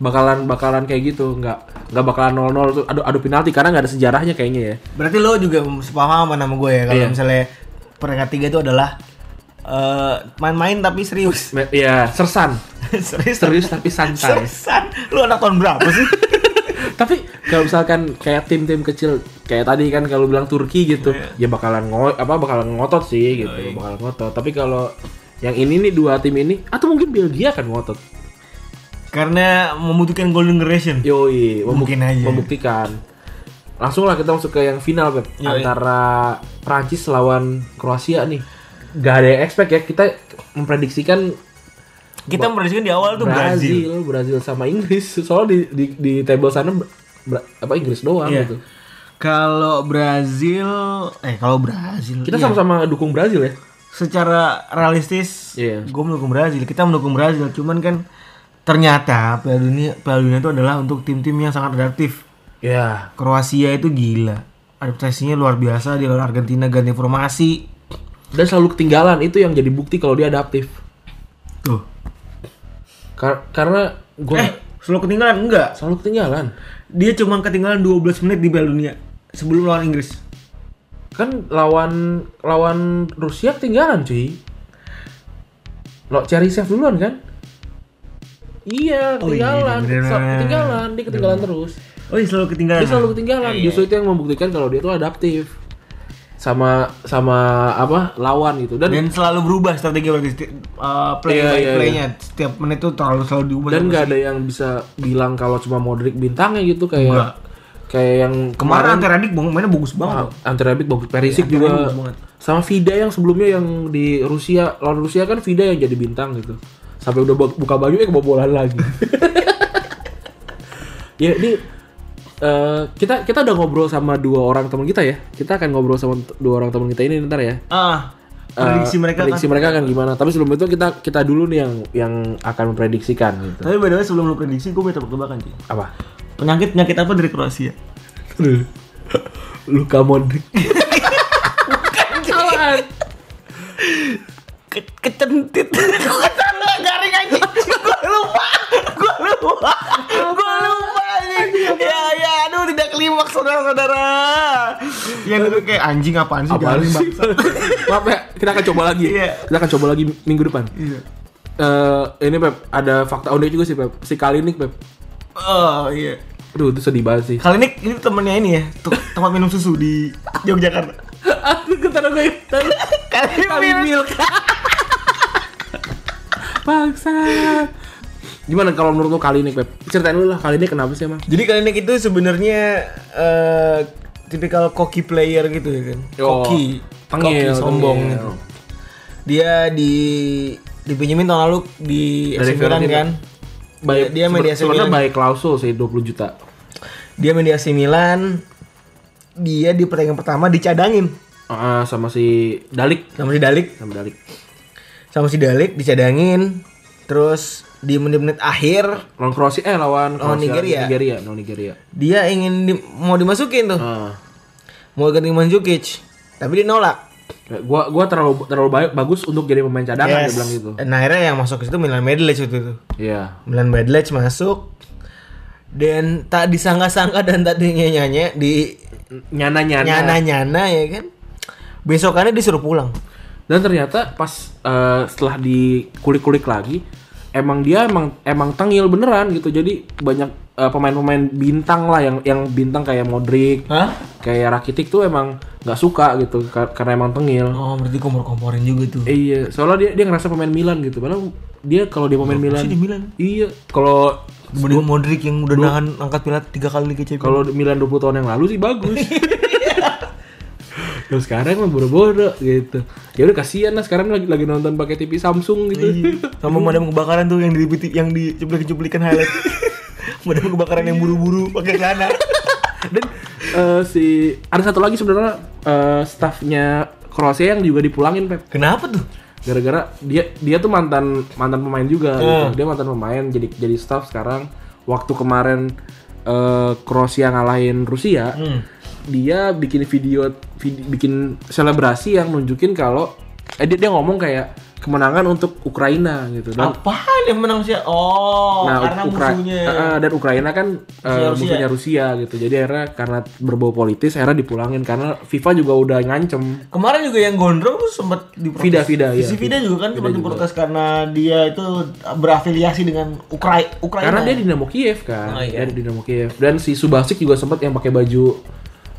Speaker 2: Bakalan bakalan kayak gitu, nggak nggak bakalan 0-0 tuh adu adu penalti karena nggak ada sejarahnya kayaknya ya.
Speaker 1: Berarti lu juga sepaham sama gue ya kalau
Speaker 2: Iya.
Speaker 1: misalnya peringkat tiga itu adalah eh, main-main tapi serius.
Speaker 2: Me- Ya, sersan.
Speaker 1: serius.
Speaker 2: Serius tapi santai.
Speaker 1: Seriusan? Lu anak tahun berapa sih?
Speaker 2: tapi kalau misalkan kayak tim-tim kecil kayak tadi kan kalau bilang Turki gitu, ya bakalan ngo apa bakalan ngotot sih gitu, bakalan ngotot. Tapi kalau yang ini nih dua tim ini atau mungkin Belgia kan ngotot.
Speaker 1: Karena membutuhkan golden
Speaker 2: Iya.
Speaker 1: generation.
Speaker 2: Yoi,
Speaker 1: Mungkin aja.
Speaker 2: membuktikan. Langsung lah kita masuk ke yang final Beb.
Speaker 1: Yoi.
Speaker 2: antara Prancis lawan Kroasia nih. Gak ada yang expect ya kita memprediksikan
Speaker 1: Kita memprediksikan di awal tuh Brazil.
Speaker 2: Brazil, Brazil sama Inggris. Soalnya di di, di table sana Bra- apa Inggris doang
Speaker 1: Iya.
Speaker 2: gitu.
Speaker 1: Kalau Brazil, eh kalau Brazil,
Speaker 2: Kita
Speaker 1: iya.
Speaker 2: sama-sama dukung Brazil ya.
Speaker 1: secara realistis,
Speaker 2: Iya.
Speaker 1: gue mendukung Brazil. Kita mendukung Brazil, cuman kan ternyata Piala Dunia Piala Dunia itu adalah untuk tim-tim yang sangat adaptif.
Speaker 2: Ya,
Speaker 1: Iya. Kroasia itu gila, adaptasinya luar biasa. Di lawan Argentina ganti formasi,
Speaker 2: dan selalu ketinggalan itu yang jadi bukti kalau dia adaptif.
Speaker 1: tuh.
Speaker 2: Kar- karena gue
Speaker 1: Eh, selalu ketinggalan enggak?
Speaker 2: selalu ketinggalan.
Speaker 1: Dia cuma ketinggalan 12 menit di Piala Dunia sebelum lawan Inggris.
Speaker 2: kan lawan lawan Rusia ketinggalan cuy lo cari chef duluan kan iya
Speaker 1: Oh, iya,
Speaker 2: ketinggalan
Speaker 1: bener.
Speaker 2: Sa- ketinggalan dia ketinggalan terus
Speaker 1: Oh, iya, selalu ketinggalan.
Speaker 2: dia selalu ketinggalan
Speaker 1: Iya.
Speaker 2: justru itu yang membuktikan kalau dia tuh adaptif sama sama apa lawan gitu dan
Speaker 1: dan selalu berubah strategi berarti seti- uh, play
Speaker 2: Iya,
Speaker 1: by
Speaker 2: iya,
Speaker 1: play-nya setiap menit tuh terlalu selalu diubah
Speaker 2: dan nggak ada yang bisa bilang kalau cuma Modric bintangnya gitu kayak
Speaker 1: Nggak.
Speaker 2: kayak yang
Speaker 1: kemarin
Speaker 2: kemarin
Speaker 1: Anteradik bang mainnya bagus banget loh.
Speaker 2: antara Big bagus
Speaker 1: Iya,
Speaker 2: Perisic
Speaker 1: Ante Rebic
Speaker 2: juga
Speaker 1: bagus banget.
Speaker 2: sama Vida yang sebelumnya yang di Rusia lawan Rusia kan Vida yang jadi bintang gitu sampai udah bu- buka baju eh kebobolan lagi ya ini eh, kita kita udah ngobrol sama dua orang teman kita ya kita akan ngobrol sama t- dua orang teman kita ini ntar ya
Speaker 1: ah
Speaker 2: Eh,
Speaker 1: prediksi mereka
Speaker 2: prediksi
Speaker 1: kan
Speaker 2: mereka akan gimana tapi sebelum itu kita kita dulu nih yang yang akan memprediksikan gitu
Speaker 1: tapi by the way sebelum lu prediksi gue punya tebak-tebakan sih
Speaker 2: apa
Speaker 1: penyakit penyakit apa dari Kroasia
Speaker 2: Luka Modric Apaan?
Speaker 1: Ke kecentit Gua salah garing aja gue lupa gue lupa gue lupa ini ya ya aduh tidak klimaks saudara-saudara yang dulu Iya, kayak anjing apaan sih
Speaker 2: Apaan
Speaker 1: garing
Speaker 2: sih?
Speaker 1: bangsa
Speaker 2: Maaf ya, kita akan coba lagi.
Speaker 1: Iya.
Speaker 2: Kita akan coba lagi minggu depan.
Speaker 1: iya
Speaker 2: Eh, ini Pep, ada fakta unik juga sih Pep. Si Kalinik Pep.
Speaker 1: oh iya
Speaker 2: Aduh, itu sedih banget sih.
Speaker 1: Kali ini ini temennya ini ya, tu- tempat minum susu di Yogyakarta.
Speaker 2: Aku ketaruh gue.
Speaker 1: Kali ini minum.
Speaker 2: Paksa. Gimana kalau menurut lo Kalinik Pep? Ceritain dulu lah Kalinik kenapa sih emang?
Speaker 1: Jadi kali ini itu sebenarnya eh tipikal cocky player gitu ya kan.
Speaker 2: Oh,
Speaker 1: Cocky,
Speaker 2: tengil,
Speaker 1: cocky, sombong
Speaker 2: tengil.
Speaker 1: gitu. Dia di dipinjemin tahun lalu di AC
Speaker 2: Dari
Speaker 1: Milan
Speaker 2: Fiorentina.
Speaker 1: kan. Dia, Iya, dia main di AC
Speaker 2: sebenarnya
Speaker 1: Milan.
Speaker 2: baik klausul sih 20 juta.
Speaker 1: Dia main di AC Milan. Dia di pertandingan pertama dicadangin
Speaker 2: Ah, sama si Dalik,
Speaker 1: sama si Dalik.
Speaker 2: sama Dalik.
Speaker 1: Sama si Dalik dicadangin. Terus di menit-menit akhir
Speaker 2: Lawan Kroasia eh lawan
Speaker 1: Lawan
Speaker 2: Kroasia,
Speaker 1: Nigeria.
Speaker 2: Nigeria, lawan Nigeria.
Speaker 1: dia ingin di- mau dimasukin tuh.
Speaker 2: Ah.
Speaker 1: mau ganti Mandzukic tapi dia nolak
Speaker 2: Gua gua terlalu terlalu baik, bagus untuk jadi pemain cadangan dia bilang gitu.
Speaker 1: nah akhirnya yang masuk ke situ Milan Medlec itu tuh
Speaker 2: Iya.
Speaker 1: Milan Medlec masuk dan tak disangka-sangka dan tak dinyanya di
Speaker 2: nyana nyana
Speaker 1: nyana-nyana ya kan besokannya disuruh pulang
Speaker 2: dan ternyata pas eh, setelah dikulik kulik lagi emang dia emang emang tengil beneran gitu jadi banyak eh, pemain-pemain bintang lah yang yang bintang kayak Modric
Speaker 1: Hah?
Speaker 2: kayak Rakitic tuh emang nggak suka gitu kar- karena emang tengil
Speaker 1: oh berarti kompor-komporin juga tuh
Speaker 2: Eh, iya soalnya dia dia ngerasa pemain Milan gitu padahal dia kalau dia pemain
Speaker 1: Oh,
Speaker 2: Milan
Speaker 1: di Milan.
Speaker 2: iya kalau
Speaker 1: Dibanding Modric yang udah nahan angkat piala tiga kali Liga Champions
Speaker 2: kalau Milan 20 tahun yang lalu sih bagus Terus sekarang mah boro-boro gitu. Ya udah kasihan lah sekarang lagi lagi nonton pakai TV Samsung gitu.
Speaker 1: Iya. sama madam kebakaran tuh yang di yang dicuplikan cuplikan highlight Pemadam kebakaran yang buru-buru pakai celana.
Speaker 2: Dan eh, si ada satu lagi sebenarnya eh, staffnya Kroasia yang juga dipulangin Pep.
Speaker 1: Kenapa tuh?
Speaker 2: gara-gara dia dia tuh mantan mantan pemain juga gitu.
Speaker 1: Hmm.
Speaker 2: dia mantan pemain jadi jadi staff sekarang waktu kemarin eh, Kroasia ngalahin Rusia
Speaker 1: Hmm.
Speaker 2: dia bikin video, vid- bikin selebrasi yang nunjukin kalau eh, dia, dia ngomong kayak kemenangan untuk Ukraina gitu dan
Speaker 1: Apaan yang menang sih? Oh, karena
Speaker 2: Nah, Ukra-
Speaker 1: musuhnya.
Speaker 2: Eh, dan Ukraina kan eh,
Speaker 1: Musuhnya Rusia.
Speaker 2: musuhnya Rusia gitu jadi akhirnya karena berbau politis akhirnya dipulangin karena FIFA juga udah ngancem
Speaker 1: Kemarin juga yang gondrong tuh sempat diprotes.
Speaker 2: Vida, Vida, iya.
Speaker 1: Si Vida juga kan sempat diprotes karena dia itu berafiliasi dengan Ukrai Ukraina.
Speaker 2: Karena dia Dinamo Kiev kan.
Speaker 1: Oh, iya.
Speaker 2: Dia Dinamo Kiev. Dan si Subasic juga sempat yang pakai baju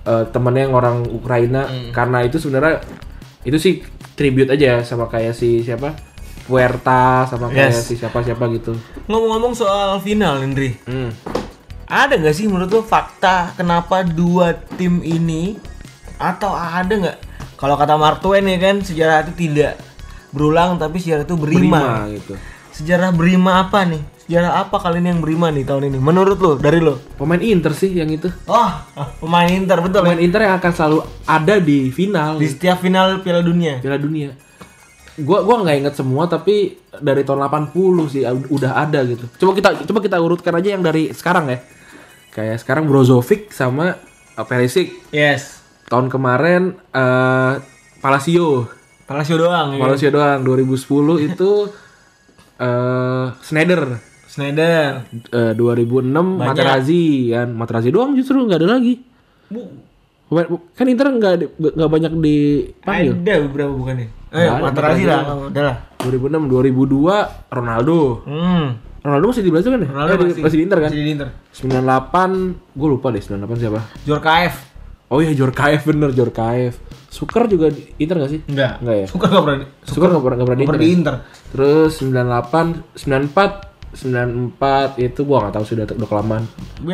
Speaker 2: eh, temennya yang orang Ukraina
Speaker 1: Hmm.
Speaker 2: karena itu sebenarnya itu sih tribute aja ya, sama kayak si siapa? Puerta sama kayak
Speaker 1: Yes.
Speaker 2: si siapa-siapa gitu.
Speaker 1: Ngomong-ngomong soal final, Indri.
Speaker 2: Hmm.
Speaker 1: Ada nggak sih menurut lo fakta kenapa dua tim ini atau ada nggak? Kalau kata Mark Twain ya kan sejarah itu tidak berulang tapi sejarah itu berima.
Speaker 2: Prima gitu.
Speaker 1: Sejarah berima apa nih? Sejarah apa kali ini yang berima nih tahun ini? Menurut lo dari lo?
Speaker 2: Pemain Inter sih yang itu.
Speaker 1: Oh, pemain Inter betul. ya?
Speaker 2: Pemain Inter yang akan selalu ada di final
Speaker 1: Di setiap final Piala Dunia.
Speaker 2: Piala Dunia. Gua gua nggak inget semua tapi dari tahun 80 sih ud- udah ada gitu. Coba kita coba kita urutkan aja yang dari sekarang ya. Kayak sekarang Brozovic sama eh, Perisic.
Speaker 1: Yes.
Speaker 2: Tahun kemarin eh Palacio.
Speaker 1: Palacio doang. Ya.
Speaker 2: Palacio doang 2010 itu eh Schneider.
Speaker 1: Schneider.
Speaker 2: Eh, 2006 Materazzi kan. Materazzi doang justru nggak ada lagi. Pemain- Kan Inter nggak di- nggak banyak dipanggil.
Speaker 1: Ada beberapa bukan ya? Eh,
Speaker 2: Ada,
Speaker 1: Materazzi lah, udah lah.
Speaker 2: 2006 2002 Ronaldo.
Speaker 1: Hmm.
Speaker 2: Ronaldo masih di Brazil kan ya?
Speaker 1: Ronaldo
Speaker 2: Eh, di-
Speaker 1: masih.
Speaker 2: masih di Inter kan?
Speaker 1: Masih di Inter.
Speaker 2: 98, gue lupa deh 98 siapa.
Speaker 1: Jorkaev.
Speaker 2: Oh iya Jorkaev bener Jorkaev. Suker juga di Inter gak sih?
Speaker 1: Enggak.
Speaker 2: Enggak ya?
Speaker 1: Suka enggak berani.
Speaker 2: Suker gak pernah, nggak pernah di
Speaker 1: Super
Speaker 2: Inter.
Speaker 1: di
Speaker 2: ya?
Speaker 1: Inter.
Speaker 2: Terus 98, 94, 94 itu gua gak tahu sudah udah kelamaan.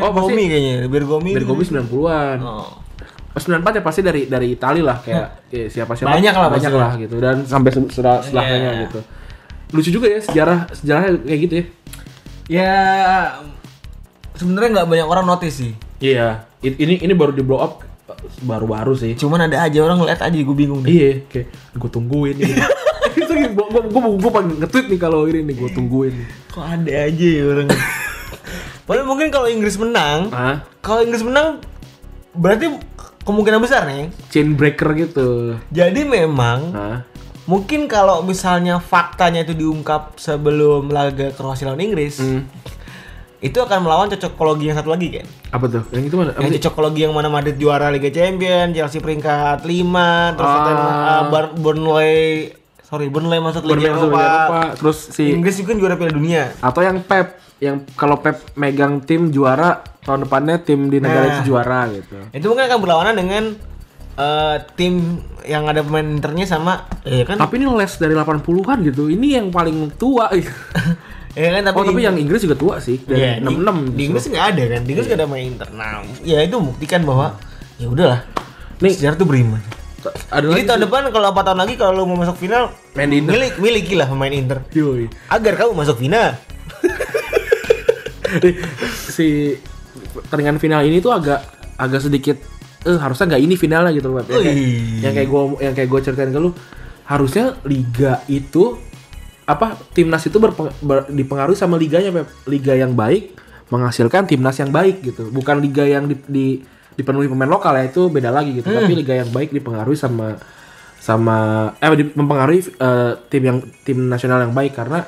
Speaker 1: oh, Gomi kayaknya. Bergomi.
Speaker 2: Dari Gobi 90-an.
Speaker 1: Oh.
Speaker 2: Pas 94 ya pasti dari dari Itali lah kayak ya, siapa siapa
Speaker 1: Banyak lah
Speaker 2: banyak
Speaker 1: pasti.
Speaker 2: lah gitu dan sampai se- setelah setelahnya
Speaker 1: Iya.
Speaker 2: gitu lucu juga ya sejarah sejarahnya kayak gitu ya
Speaker 1: Ya sebenarnya nggak banyak orang notice sih.
Speaker 2: iya i- ini ini baru di blow up eh, baru-baru sih
Speaker 1: Cuman ada aja orang ngeliat aja gue bingung nih.
Speaker 2: Iya, kayak gue tungguin nih. Itu gue gue gue pengen nge-tweet nih kalau ini nih gue tungguin.
Speaker 1: Kok ada aja ya orang. Padahal mungkin kalau Inggris menang,
Speaker 2: Ah,
Speaker 1: kalau Inggris menang berarti kemungkinan besar nih.
Speaker 2: chain breaker gitu.
Speaker 1: Jadi memang
Speaker 2: Ah,
Speaker 1: Mungkin kalau misalnya faktanya itu diungkap sebelum laga Kroasia lawan Inggris,
Speaker 2: Hmm.
Speaker 1: itu akan melawan cocokologi yang satu lagi kan?
Speaker 2: apa tuh? Yang itu mana? Apa
Speaker 1: Yang
Speaker 2: sih?
Speaker 1: cocokologi yang mana Madrid juara Liga Champions, Chelsea peringkat 5, terus
Speaker 2: Ah.
Speaker 1: Tottenham, uh, Bar- Burnley, sorry Burnley masuk Liga
Speaker 2: Bermain sama
Speaker 1: Eropa.
Speaker 2: Eropa, Terus si
Speaker 1: Inggris juga kan juara Piala Dunia.
Speaker 2: atau yang Pep yang kalau Pep megang tim juara tahun depannya tim di negara
Speaker 1: Nah.
Speaker 2: itu juara gitu.
Speaker 1: Itu mungkin akan berlawanan dengan eh, tim yang ada pemain internya sama, ya kan?
Speaker 2: Tapi ini les dari 80-an gitu. Ini yang paling tua.
Speaker 1: ya kan tapi,
Speaker 2: oh, tapi yang Inggris juga tua sih.
Speaker 1: Iya,
Speaker 2: Dari 66.
Speaker 1: di, di Inggris nggak ada kan di Inggris nggak ada main internal ya itu membuktikan bahwa ya udahlah
Speaker 2: Nih.
Speaker 1: sejarah tuh beriman
Speaker 2: Ada
Speaker 1: jadi
Speaker 2: lagi
Speaker 1: tahun depan kalau 4 tahun lagi kalau lu mau masuk final
Speaker 2: Main di Inter.
Speaker 1: milik milikilah pemain Inter
Speaker 2: Yoi.
Speaker 1: agar kamu masuk final
Speaker 2: si pertandingan final ini tuh agak agak sedikit eh harusnya nggak ini finalnya gitu Pep. Yang kayak,
Speaker 1: Wih.
Speaker 2: yang kayak gua yang kayak gua ceritain ke lu harusnya liga itu apa timnas itu berpeng- ber- dipengaruhi sama liganya Pep. Liga yang baik menghasilkan timnas yang baik gitu. Bukan liga yang di- di- dipenuhi pemain lokal ya itu beda lagi gitu. Tapi liga yang baik dipengaruhi sama sama eh di- mempengaruhi eh, tim yang tim nasional yang baik karena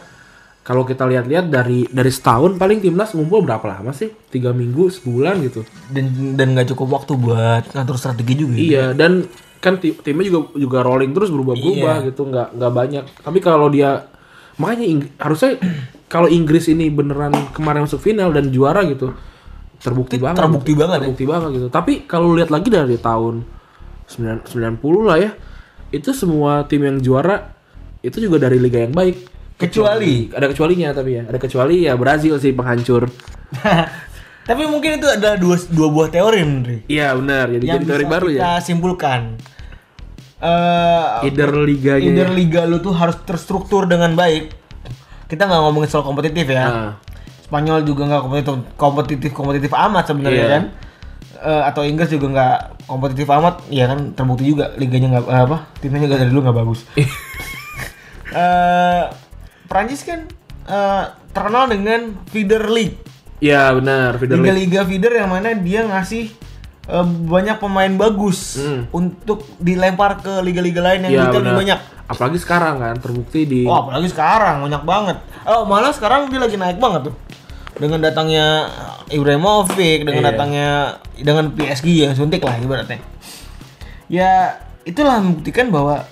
Speaker 2: kalau kita lihat-lihat dari dari setahun paling timnas ngumpul berapa lama sih? Tiga minggu, sebulan gitu.
Speaker 1: dan dan nggak cukup waktu buat ngatur strategi juga ya.
Speaker 2: Iya dan kan ti- timnya juga juga rolling terus berubah-berubah
Speaker 1: Iya.
Speaker 2: gitu, nggak nggak banyak. Tapi kalau dia makanya Ing- harusnya kalau Inggris ini beneran kemarin masuk final dan juara gitu terbukti banget.
Speaker 1: terbukti banget ya.
Speaker 2: Terbukti banget gitu. Tapi kalau lihat lagi dari tahun 9 90 lah ya itu semua tim yang juara itu juga dari liga yang baik.
Speaker 1: kecuali
Speaker 2: Ada kecualinya tapi ya. Ada kecuali ya Brazil sih penghancur.
Speaker 1: tapi mungkin itu adalah dua dua buah teori Indri
Speaker 2: Iya benar, jadi
Speaker 1: yang
Speaker 2: jadi teori
Speaker 1: bisa
Speaker 2: baru
Speaker 1: kita
Speaker 2: ya.
Speaker 1: simpulkan Eh,
Speaker 2: Either liganya.
Speaker 1: Either liga lu tuh harus terstruktur dengan baik. Kita nggak ngomongin soal kompetitif ya.
Speaker 2: Ah.
Speaker 1: Spanyol juga nggak kompetitif kompetitif kompetitif amat sebenarnya
Speaker 2: Iya.
Speaker 1: kan. Eh, atau Inggris juga nggak kompetitif amat, ya kan terbukti juga liganya nggak eh, apa timnya juga dari dulu nggak bagus. Eh Prancis kan eh, terkenal dengan feeder league,
Speaker 2: Iya benar, Feeder League.
Speaker 1: liga-liga feeder yang mana dia ngasih eh, banyak pemain bagus untuk dilempar ke liga-liga lain yang
Speaker 2: Hmm. Iya,
Speaker 1: duitnya lebih
Speaker 2: benar.
Speaker 1: banyak.
Speaker 2: Apalagi sekarang kan terbukti di
Speaker 1: Wah, apalagi sekarang banyak banget. Oh, malah sekarang dia lagi naik banget tuh. Dengan datangnya Ibrahimovic, dengan datangnya dengan PSG ya suntik lah ibaratnya. Ya, itulah membuktikan bahwa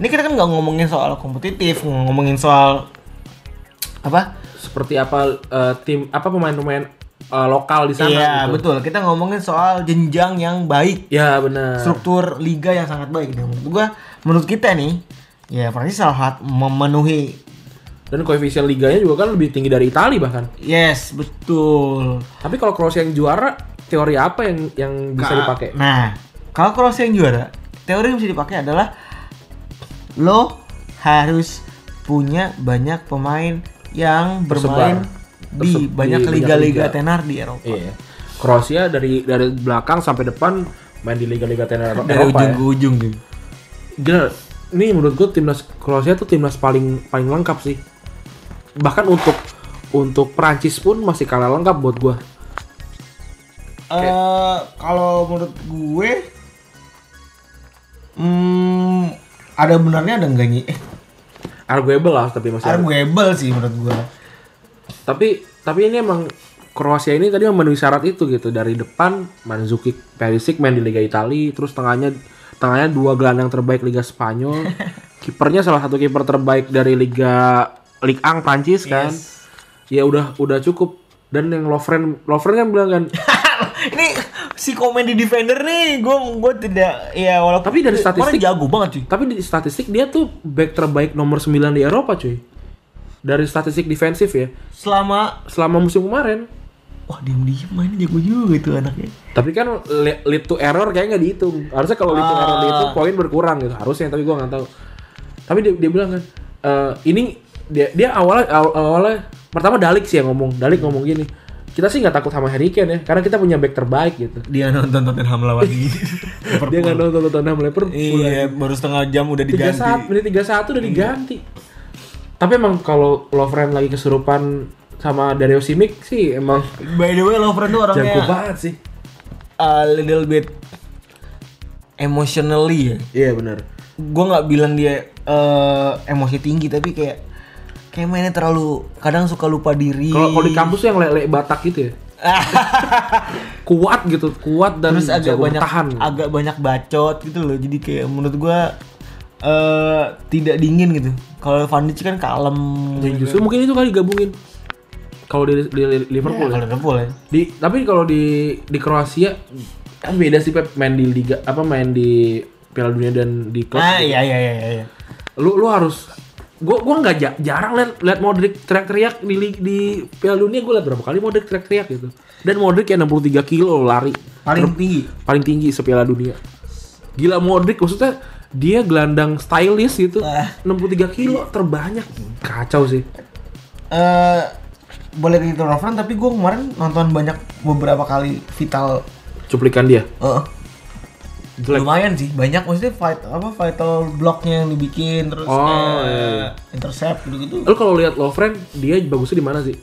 Speaker 1: ini kita kan nggak ngomongin soal kompetitif, nggak ngomongin soal apa?
Speaker 2: seperti apa eh, tim apa pemain-pemain eh, lokal di sana
Speaker 1: Iya,
Speaker 2: gitu.
Speaker 1: betul. Kita ngomongin soal jenjang yang baik,
Speaker 2: Ya benar.
Speaker 1: struktur liga yang sangat baik. Dan menurut gua, menurut kita nih, ya Prancis salah satu memenuhi
Speaker 2: Dan koefisien liganya juga kan lebih tinggi dari Italia bahkan.
Speaker 1: Yes, betul.
Speaker 2: Tapi kalau Kroasia yang juara, teori apa yang yang bisa dipakai?
Speaker 1: Nah, kalau Kroasia yang juara, teori yang bisa dipakai adalah lo harus punya banyak pemain yang bermain di
Speaker 2: Tersep-
Speaker 1: banyak
Speaker 2: di banyak
Speaker 1: liga-liga
Speaker 2: liga.
Speaker 1: tenar di Eropa.
Speaker 2: Iya. Kroasia dari dari belakang sampai depan main di liga-liga tenar Eropa.
Speaker 1: Dari ujung
Speaker 2: ya.
Speaker 1: ke ujung gitu.
Speaker 2: Gila, ini menurut gue timnas Kroasia tuh timnas paling paling lengkap sih. Bahkan untuk untuk Prancis pun masih kalah lengkap buat gue.
Speaker 1: Eh, kalau menurut gue hmm, ada benarnya ada enggaknya? Eh,
Speaker 2: Arguable lah tapi masih.
Speaker 1: arguable sih menurut gue.
Speaker 2: Tapi tapi ini emang Kroasia ini tadi memenuhi syarat itu gitu dari depan Mandzukic, Perisic main di Liga Italia, terus tengahnya tengahnya dua gelandang terbaik Liga Spanyol, kipernya salah satu kiper terbaik dari Liga Ligue 1 Prancis kan. Ya udah udah cukup dan yang Lovren Lovren kan bilang kan
Speaker 1: ini si komedi defender nih gue gue tidak ya walaupun
Speaker 2: Tapi dari statistik-
Speaker 1: orang jago banget cuy
Speaker 2: tapi di statistik dia tuh back terbaik nomor 9 di Eropa cuy. Dari statistik defensif ya
Speaker 1: selama
Speaker 2: selama musim kemarin.
Speaker 1: wah diem diem main jago juga itu anaknya
Speaker 2: Tapi kan le- lead to error kayaknya nggak dihitung. Harusnya kalau lead to error dihitung poin berkurang gitu. Harusnya tapi gua nggak tahu. Tapi dia, dia bilang kan "Eh, ini dia dia awalnya aw- awalnya pertama Dalik sih yang ngomong. Dalik ngomong gini. Kita sih nggak takut sama Harry Kane ya karena kita punya back terbaik gitu.
Speaker 1: dia nonton Tottenham lawan di
Speaker 2: Dia nggak nonton Tottenham Liverpool.
Speaker 1: iya baru setengah jam udah
Speaker 2: Tiga
Speaker 1: diganti
Speaker 2: saat menit tiga satu udah diganti. Tapi emang kalau Lovren lagi kesurupan sama Dario Simic sih emang
Speaker 1: by the way Lovren tuh
Speaker 2: jago
Speaker 1: orangnya
Speaker 2: banget sih.
Speaker 1: a little bit emotionally ya
Speaker 2: Iya benar.
Speaker 1: gue nggak bilang dia eh, emosi tinggi tapi kayak kayak mainnya terlalu kadang suka lupa diri Ah,
Speaker 2: Kalau kalau di kampus tuh yang lele Batak gitu ya. kuat gitu, kuat dan
Speaker 1: terus agak
Speaker 2: jago
Speaker 1: banyak
Speaker 2: bertahan.
Speaker 1: agak banyak bacot gitu loh jadi kayak menurut gua eh tidak dingin gitu kalau Van Dijk kan kalem
Speaker 2: Dan justru gitu. mungkin itu kali digabungin. Kalau di, di Liverpool
Speaker 1: kalau
Speaker 2: ya.
Speaker 1: Liverpool ya
Speaker 2: Di tapi kalau di di Kroasia kan beda sih Pep main di liga apa main di Piala Dunia dan di klub.
Speaker 1: ah iya iya iya iya
Speaker 2: Lu lu harus gua gua nggak ja- jarang lihat lihat Modric teriak-teriak di lig- di Piala Dunia gua lihat berapa kali Modric teriak-teriak gitu. Dan Modric yang 63 kilo lari
Speaker 1: paling tinggi
Speaker 2: paling tinggi sepiala dunia. Gila Modric maksudnya dia gelandang stylish gitu.
Speaker 1: Ah.
Speaker 2: 63 kilo terbanyak. Kacau sih.
Speaker 1: eh boleh ke Lovren tapi gua kemarin nonton banyak beberapa kali vital
Speaker 2: Cuplikan dia.
Speaker 1: eh,
Speaker 2: Jelek.
Speaker 1: lumayan sih banyak maksudnya fight apa vital blocknya yang dibikin terus eh,
Speaker 2: Oh, iya, iya.
Speaker 1: intercept gitu gitu
Speaker 2: Lu kalau lihat Lovren, dia bagusnya di mana sih?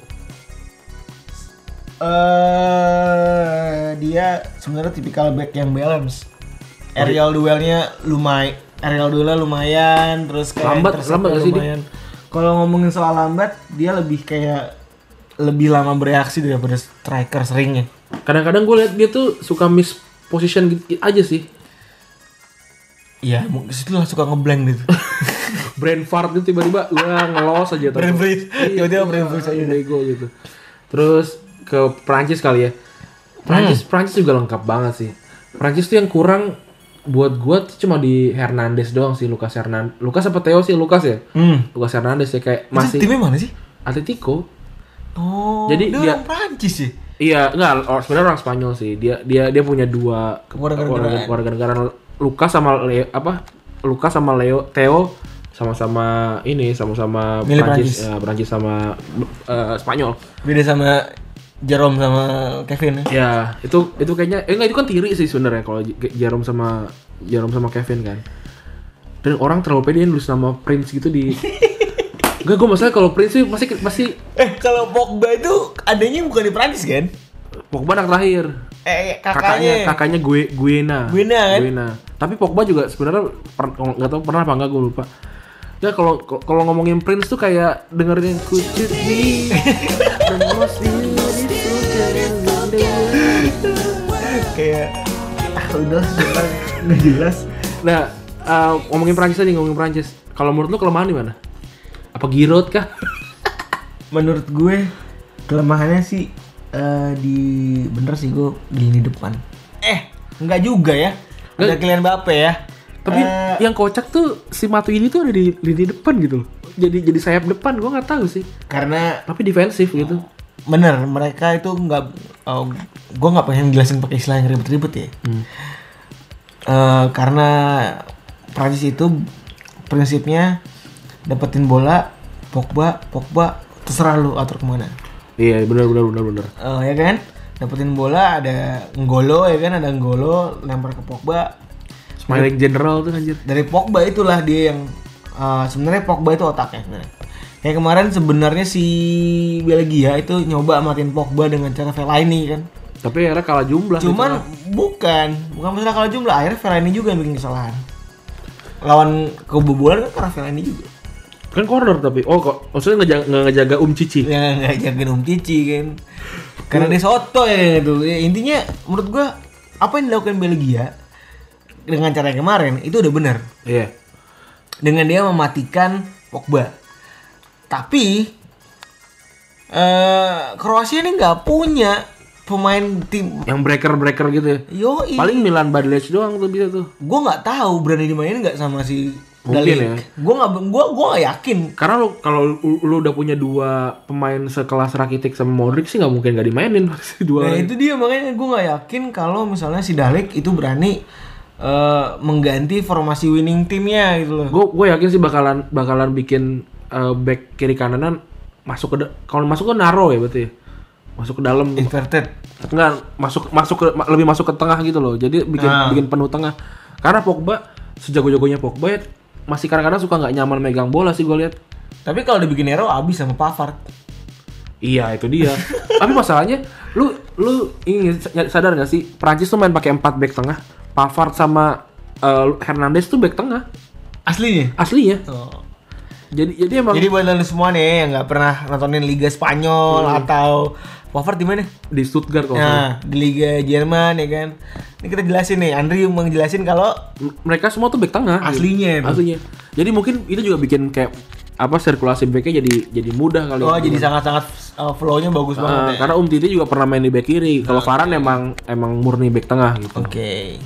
Speaker 1: eh dia sebenarnya tipikal back yang balance. Aerial duelnya lumayan, aerial duelnya lumayan, terus kayak
Speaker 2: Lambat-
Speaker 1: intercept
Speaker 2: lambat nggak sih dia?
Speaker 1: lumayan. Kalau ngomongin soal lambat, dia lebih kayak lebih lama bereaksi daripada striker seringnya.
Speaker 2: Kadang-kadang gue lihat dia tuh suka miss position gitu aja sih.
Speaker 1: Iya, mungkin situ lah suka ngeblank gitu.
Speaker 2: Brain fart gitu tiba-tiba wah ngelos aja tuh.
Speaker 1: Brain freeze.
Speaker 2: Iya,
Speaker 1: Tiba-tiba brain freeze aja.
Speaker 2: Bego gitu. Terus ke Prancis kali ya. Prancis
Speaker 1: Hmm.
Speaker 2: Prancis juga lengkap banget sih. Prancis tuh yang kurang buat gua tuh cuma di Hernandez doang sih Lucas Hernandez. Lucas apa Theo sih Lucas ya?
Speaker 1: Hmm.
Speaker 2: Lucas Hernandez ya kayak
Speaker 1: Itu
Speaker 2: masih
Speaker 1: timnya mana sih?
Speaker 2: Atletico.
Speaker 1: Oh,
Speaker 2: Jadi
Speaker 1: dia
Speaker 2: dia-
Speaker 1: orang Prancis sih.
Speaker 2: Iya, enggak or- sebenarnya orang Spanyol sih. Dia dia dia punya dua
Speaker 1: Keluarga-negaraan.
Speaker 2: keluarga negara Lucas sama Leo, apa? Lucas sama Leo Theo sama-sama ini sama-sama
Speaker 1: Milih
Speaker 2: Prancis ya, Prancis sama eh, Spanyol
Speaker 1: Beda sama Jerome sama Kevin ya.
Speaker 2: ya itu itu kayaknya eh enggak itu kan tiri sih sebenarnya kalau J- Jerome sama Jerome sama Kevin kan dan orang terlalu pede nulis nama Prince gitu di Enggak, gue masalah kalau Prince sih masih masih
Speaker 1: Eh kalau Pogba itu adanya bukan di Prancis kan?
Speaker 2: Pogba anak terakhir.
Speaker 1: Eh
Speaker 2: Kakaknya
Speaker 1: kakaknya.
Speaker 2: kakaknya gue Guena.
Speaker 1: Guena, kan?
Speaker 2: Tapi Pogba juga sebenarnya per- oh, nggak tahu pernah apa enggak gue lupa. Ya kalau kalau ngomongin Prince tuh kayak dengerin yang kucut nih. the most beautiful girl in the world.
Speaker 1: kayak ah udah sebentar nggak jelas.
Speaker 2: Nah, eh, ngomongin Prancis aja ngomongin Prancis. Kalau menurut lu kelemahan di mana? Apa Giroud kah?
Speaker 1: Menurut gue kelemahannya sih eh, di bener sih gue di lini depan. Eh nggak juga ya. Ada kalian Bape ya.
Speaker 2: Tapi yang kocak tuh si Matu ini tuh ada di lini depan gitu loh. Jadi jadi sayap depan gue nggak tahu sih.
Speaker 1: Karena
Speaker 2: Tapi defensif gitu.
Speaker 1: bener mereka itu nggak oh, gue nggak pengen jelasin pakai istilah yang ribet-ribet ya Eh, karena Prancis itu prinsipnya dapetin bola Pogba Pogba terserah lu atur kemana
Speaker 2: Iya, benar benar benar benar.
Speaker 1: Eh, ya kan dapetin bola ada Nggolo ya kan ada Nggolo lempar ke Pogba
Speaker 2: Smiling General tuh anjir.
Speaker 1: dari Pogba itulah dia yang eh, sebenarnya Pogba itu otaknya sebenarnya kayak kemarin sebenarnya si Belgia itu nyoba matiin Pogba dengan cara Fellaini kan
Speaker 2: Tapi akhirnya kalah jumlah. gitu.
Speaker 1: Cuman bukan, bukan masalah kalau jumlah. Akhirnya Fellaini juga yang bikin kesalahan. Lawan kebobolan kan karena Fellaini juga.
Speaker 2: gitu. kan corner tapi oh kok maksudnya ngejaga, nggak ngejaga Um Cici.
Speaker 1: Ya nggak jagain Om Cici kan. Karena dia soto ya gitu. Ya, intinya menurut gua apa yang dilakukan Belgia dengan cara yang kemarin itu udah benar.
Speaker 2: Iya.
Speaker 1: Dengan dia mematikan Pogba. Tapi eh Kroasia ini nggak punya pemain tim
Speaker 2: Yang breaker-breaker gitu ya.
Speaker 1: Yoi.
Speaker 2: Paling Milan Badlec doang tuh bisa tuh.
Speaker 1: gue nggak tahu berani dimainin nggak sama si
Speaker 2: Mungkin
Speaker 1: Dalik.
Speaker 2: ya.
Speaker 1: Gue nggak gue gue nggak yakin.
Speaker 2: Karena lo kalau lu, lu udah punya dua pemain sekelas Rakitic sama Modric sih nggak mungkin nggak dimainin pasti dua.
Speaker 1: Nah
Speaker 2: orang.
Speaker 1: itu dia makanya gue nggak yakin kalau misalnya si Dalik itu berani eh, mengganti formasi winning timnya gitu loh.
Speaker 2: gue gue yakin sih bakalan bakalan bikin eh, back kiri kanan masuk ke da- kalau masuk ke naro ya berarti ya? masuk ke dalam
Speaker 1: Inverted.
Speaker 2: enggak masuk masuk ke ma- lebih masuk ke tengah gitu loh jadi bikin bikin penuh tengah karena pogba sejago-jagonya pogba ya, masih kadang-kadang suka nggak nyaman megang bola sih gue lihat
Speaker 1: Tapi kalau dibikin Nero abis sama Pavard.
Speaker 2: iya itu dia tapi masalahnya lu lu ini sadar nggak sih Prancis tuh main pakai empat back tengah Pavard sama eh, Hernandez tuh back tengah
Speaker 1: Aslinya.
Speaker 2: aslinya jadi jadi emang
Speaker 1: Jadi buat lu semua nih yang nggak pernah nontonin Liga Spanyol atau Pavard di mana?
Speaker 2: di Stuttgart kalau nggak salah.
Speaker 1: Nah di Liga Jerman ya kan. Ini kita jelasin nih. Andri mengjelasin kalau
Speaker 2: M- mereka semua tuh back tengah
Speaker 1: Aslinya
Speaker 2: gitu.
Speaker 1: itu.
Speaker 2: aslinya jadi mungkin itu juga bikin kayak apa sirkulasi backnya jadi jadi mudah kali
Speaker 1: oh
Speaker 2: ya.
Speaker 1: jadi sangat-sangat eh, flow-nya bagus
Speaker 2: Eh,
Speaker 1: banget. ya. Nah, iya.
Speaker 2: karena Um Titi juga pernah main di back kiri kalau Varan emang emang murni back tengah gitu
Speaker 1: Oke.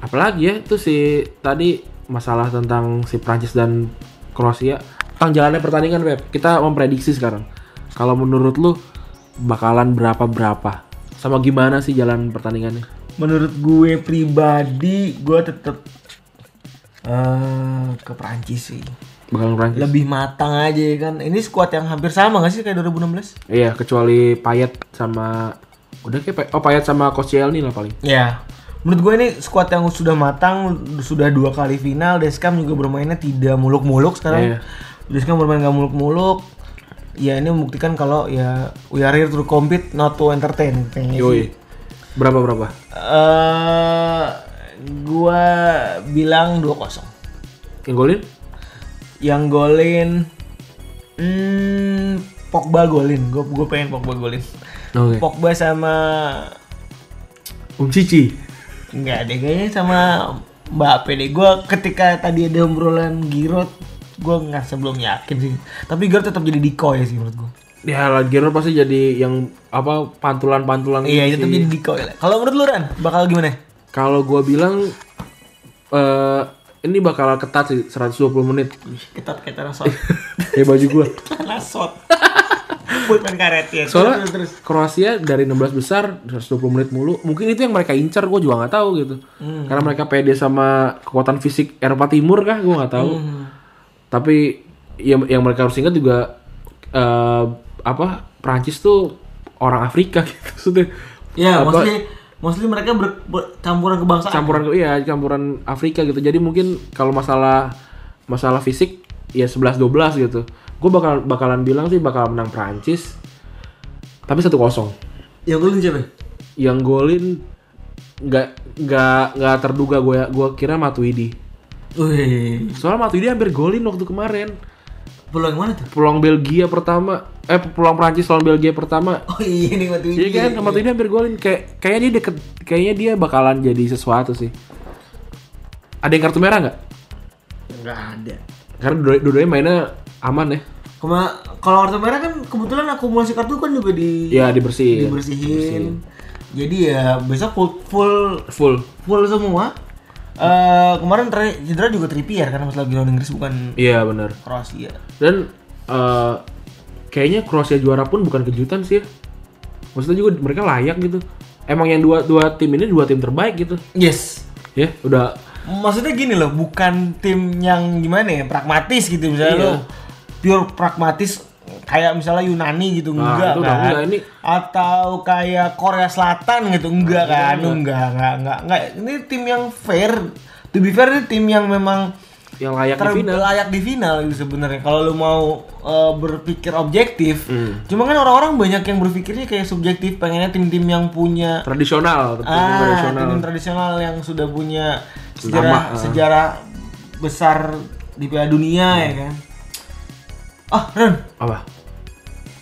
Speaker 2: apalagi ya itu si tadi masalah tentang si Prancis dan Kroasia tentang jalannya pertandingan Beb kita memprediksi sekarang kalau menurut lu bakalan berapa berapa sama gimana sih jalan pertandingannya
Speaker 1: menurut gue pribadi gue tetap eh ke Perancis sih
Speaker 2: bakalan Prancis
Speaker 1: lebih matang aja ya kan ini skuad yang hampir sama gak sih kayak 2016
Speaker 2: iya kecuali Payet sama udah kayak Payet- oh Payet sama Koscielny lah paling
Speaker 1: ya menurut gue ini skuad yang sudah matang sudah dua kali final Deskam juga bermainnya tidak muluk-muluk
Speaker 2: Iya.
Speaker 1: sekarang Deskam bermain gak muluk-muluk ya ini membuktikan kalau ya we are here to compete not to entertain kayaknya sih.
Speaker 2: Yoi. Berapa berapa?
Speaker 1: eh gue bilang 2-0
Speaker 2: Yang golin?
Speaker 1: yang golin hmm, Pogba golin gue gue pengen Pogba golin
Speaker 2: Oke.
Speaker 1: Pogba sama
Speaker 2: Um Cici.
Speaker 1: nggak deh kayaknya sama Mbappe deh gue ketika tadi ada obrolan Giroud gue nggak sebelum yakin sih tapi Giroud tetap jadi decoy sih menurut gue
Speaker 2: Ya Giroud pasti jadi yang apa pantulan-pantulan gitu
Speaker 1: iya
Speaker 2: sih.
Speaker 1: tetap jadi decoy lah kalau menurut lu Ran bakal gimana
Speaker 2: Kalau gua bilang eh ini bakal ketat sih 120 menit.
Speaker 1: ketat kayak terasot
Speaker 2: ya baju gua.
Speaker 1: terasot buat main karet ya
Speaker 2: Soalnya Kroasia dari 16 besar 120 menit mulu. Mungkin itu yang mereka incer gua juga nggak
Speaker 1: Hmm. Hmm.
Speaker 2: tahu gitu. Karena mereka pede sama kekuatan fisik Eropa Timur kah gua nggak tahu. Tapi ya, yang yang mereka harus ingat juga eh, apa Prancis tuh orang Afrika gitu maksudnya.
Speaker 1: Ya,
Speaker 2: Apa-
Speaker 1: maksudnya maksudnya mereka ber- bercampuran kebangsaan.
Speaker 2: campuran iya campuran Afrika gitu jadi mungkin kalau masalah masalah fisik ya 11-12 gitu gue bakal bakalan bilang sih bakal menang Prancis tapi satu kosong
Speaker 1: Ya gue siapa?
Speaker 2: yang golin nggak nggak nggak terduga gue gue kira Matuidi
Speaker 1: Wih,
Speaker 2: soalnya Matuidi hampir golin waktu kemarin
Speaker 1: pulau yang mana tuh?
Speaker 2: peluang Belgia pertama eh peluang Prancis lawan Belgia pertama
Speaker 1: Oh iya nih mati
Speaker 2: Iya kan, Matuidi hampir golin. Kayak kayaknya dia deket, kayaknya dia bakalan jadi sesuatu sih. Ada yang kartu merah nggak?
Speaker 1: Enggak ada.
Speaker 2: Karena dua- dua-duanya mainnya aman ya.
Speaker 1: Kema kalau kartu merah kan kebetulan akumulasi kartu kan juga di
Speaker 2: Ya dibersihin.
Speaker 1: dibersihin. Jadi ya besok full full
Speaker 2: Full.
Speaker 1: full semua. Eh kemarin ter- cedera juga Trippier karena pas lagi lawan Inggris bukan
Speaker 2: Iya benar.
Speaker 1: Kroasia.
Speaker 2: Dan eh, kayaknya Kroasia juara pun bukan kejutan sih. ya. Maksudnya juga mereka layak gitu. Emang yang dua dua tim ini dua tim terbaik gitu.
Speaker 1: Yes.
Speaker 2: Ya udah
Speaker 1: Maksudnya gini loh, bukan tim yang gimana ya, pragmatis gitu misalnya
Speaker 2: Iya.
Speaker 1: lo pure pragmatis kayak misalnya Yunani gitu
Speaker 2: Nah,
Speaker 1: enggak
Speaker 2: itu udah
Speaker 1: kan.
Speaker 2: enggak, ini-
Speaker 1: Atau kayak Korea Selatan gitu
Speaker 2: Nah,
Speaker 1: enggak kan.
Speaker 2: iya,
Speaker 1: Enggak, enggak, enggak, enggak, Ini tim yang fair. To be fair ini tim yang memang
Speaker 2: yang layak di final.
Speaker 1: terlayak di final gitu sebenarnya. Kalau lu mau uh, berpikir objektif,
Speaker 2: Hmm.
Speaker 1: cuma kan orang-orang banyak yang berpikirnya kayak subjektif, pengennya tim-tim yang punya
Speaker 2: Tradisional, tim
Speaker 1: ah,
Speaker 2: tradisional.
Speaker 1: tim tradisional ah. yang sudah punya sejarah sejarah besar di Piala Dunia ya kan. Ah, Ren,
Speaker 2: Apa?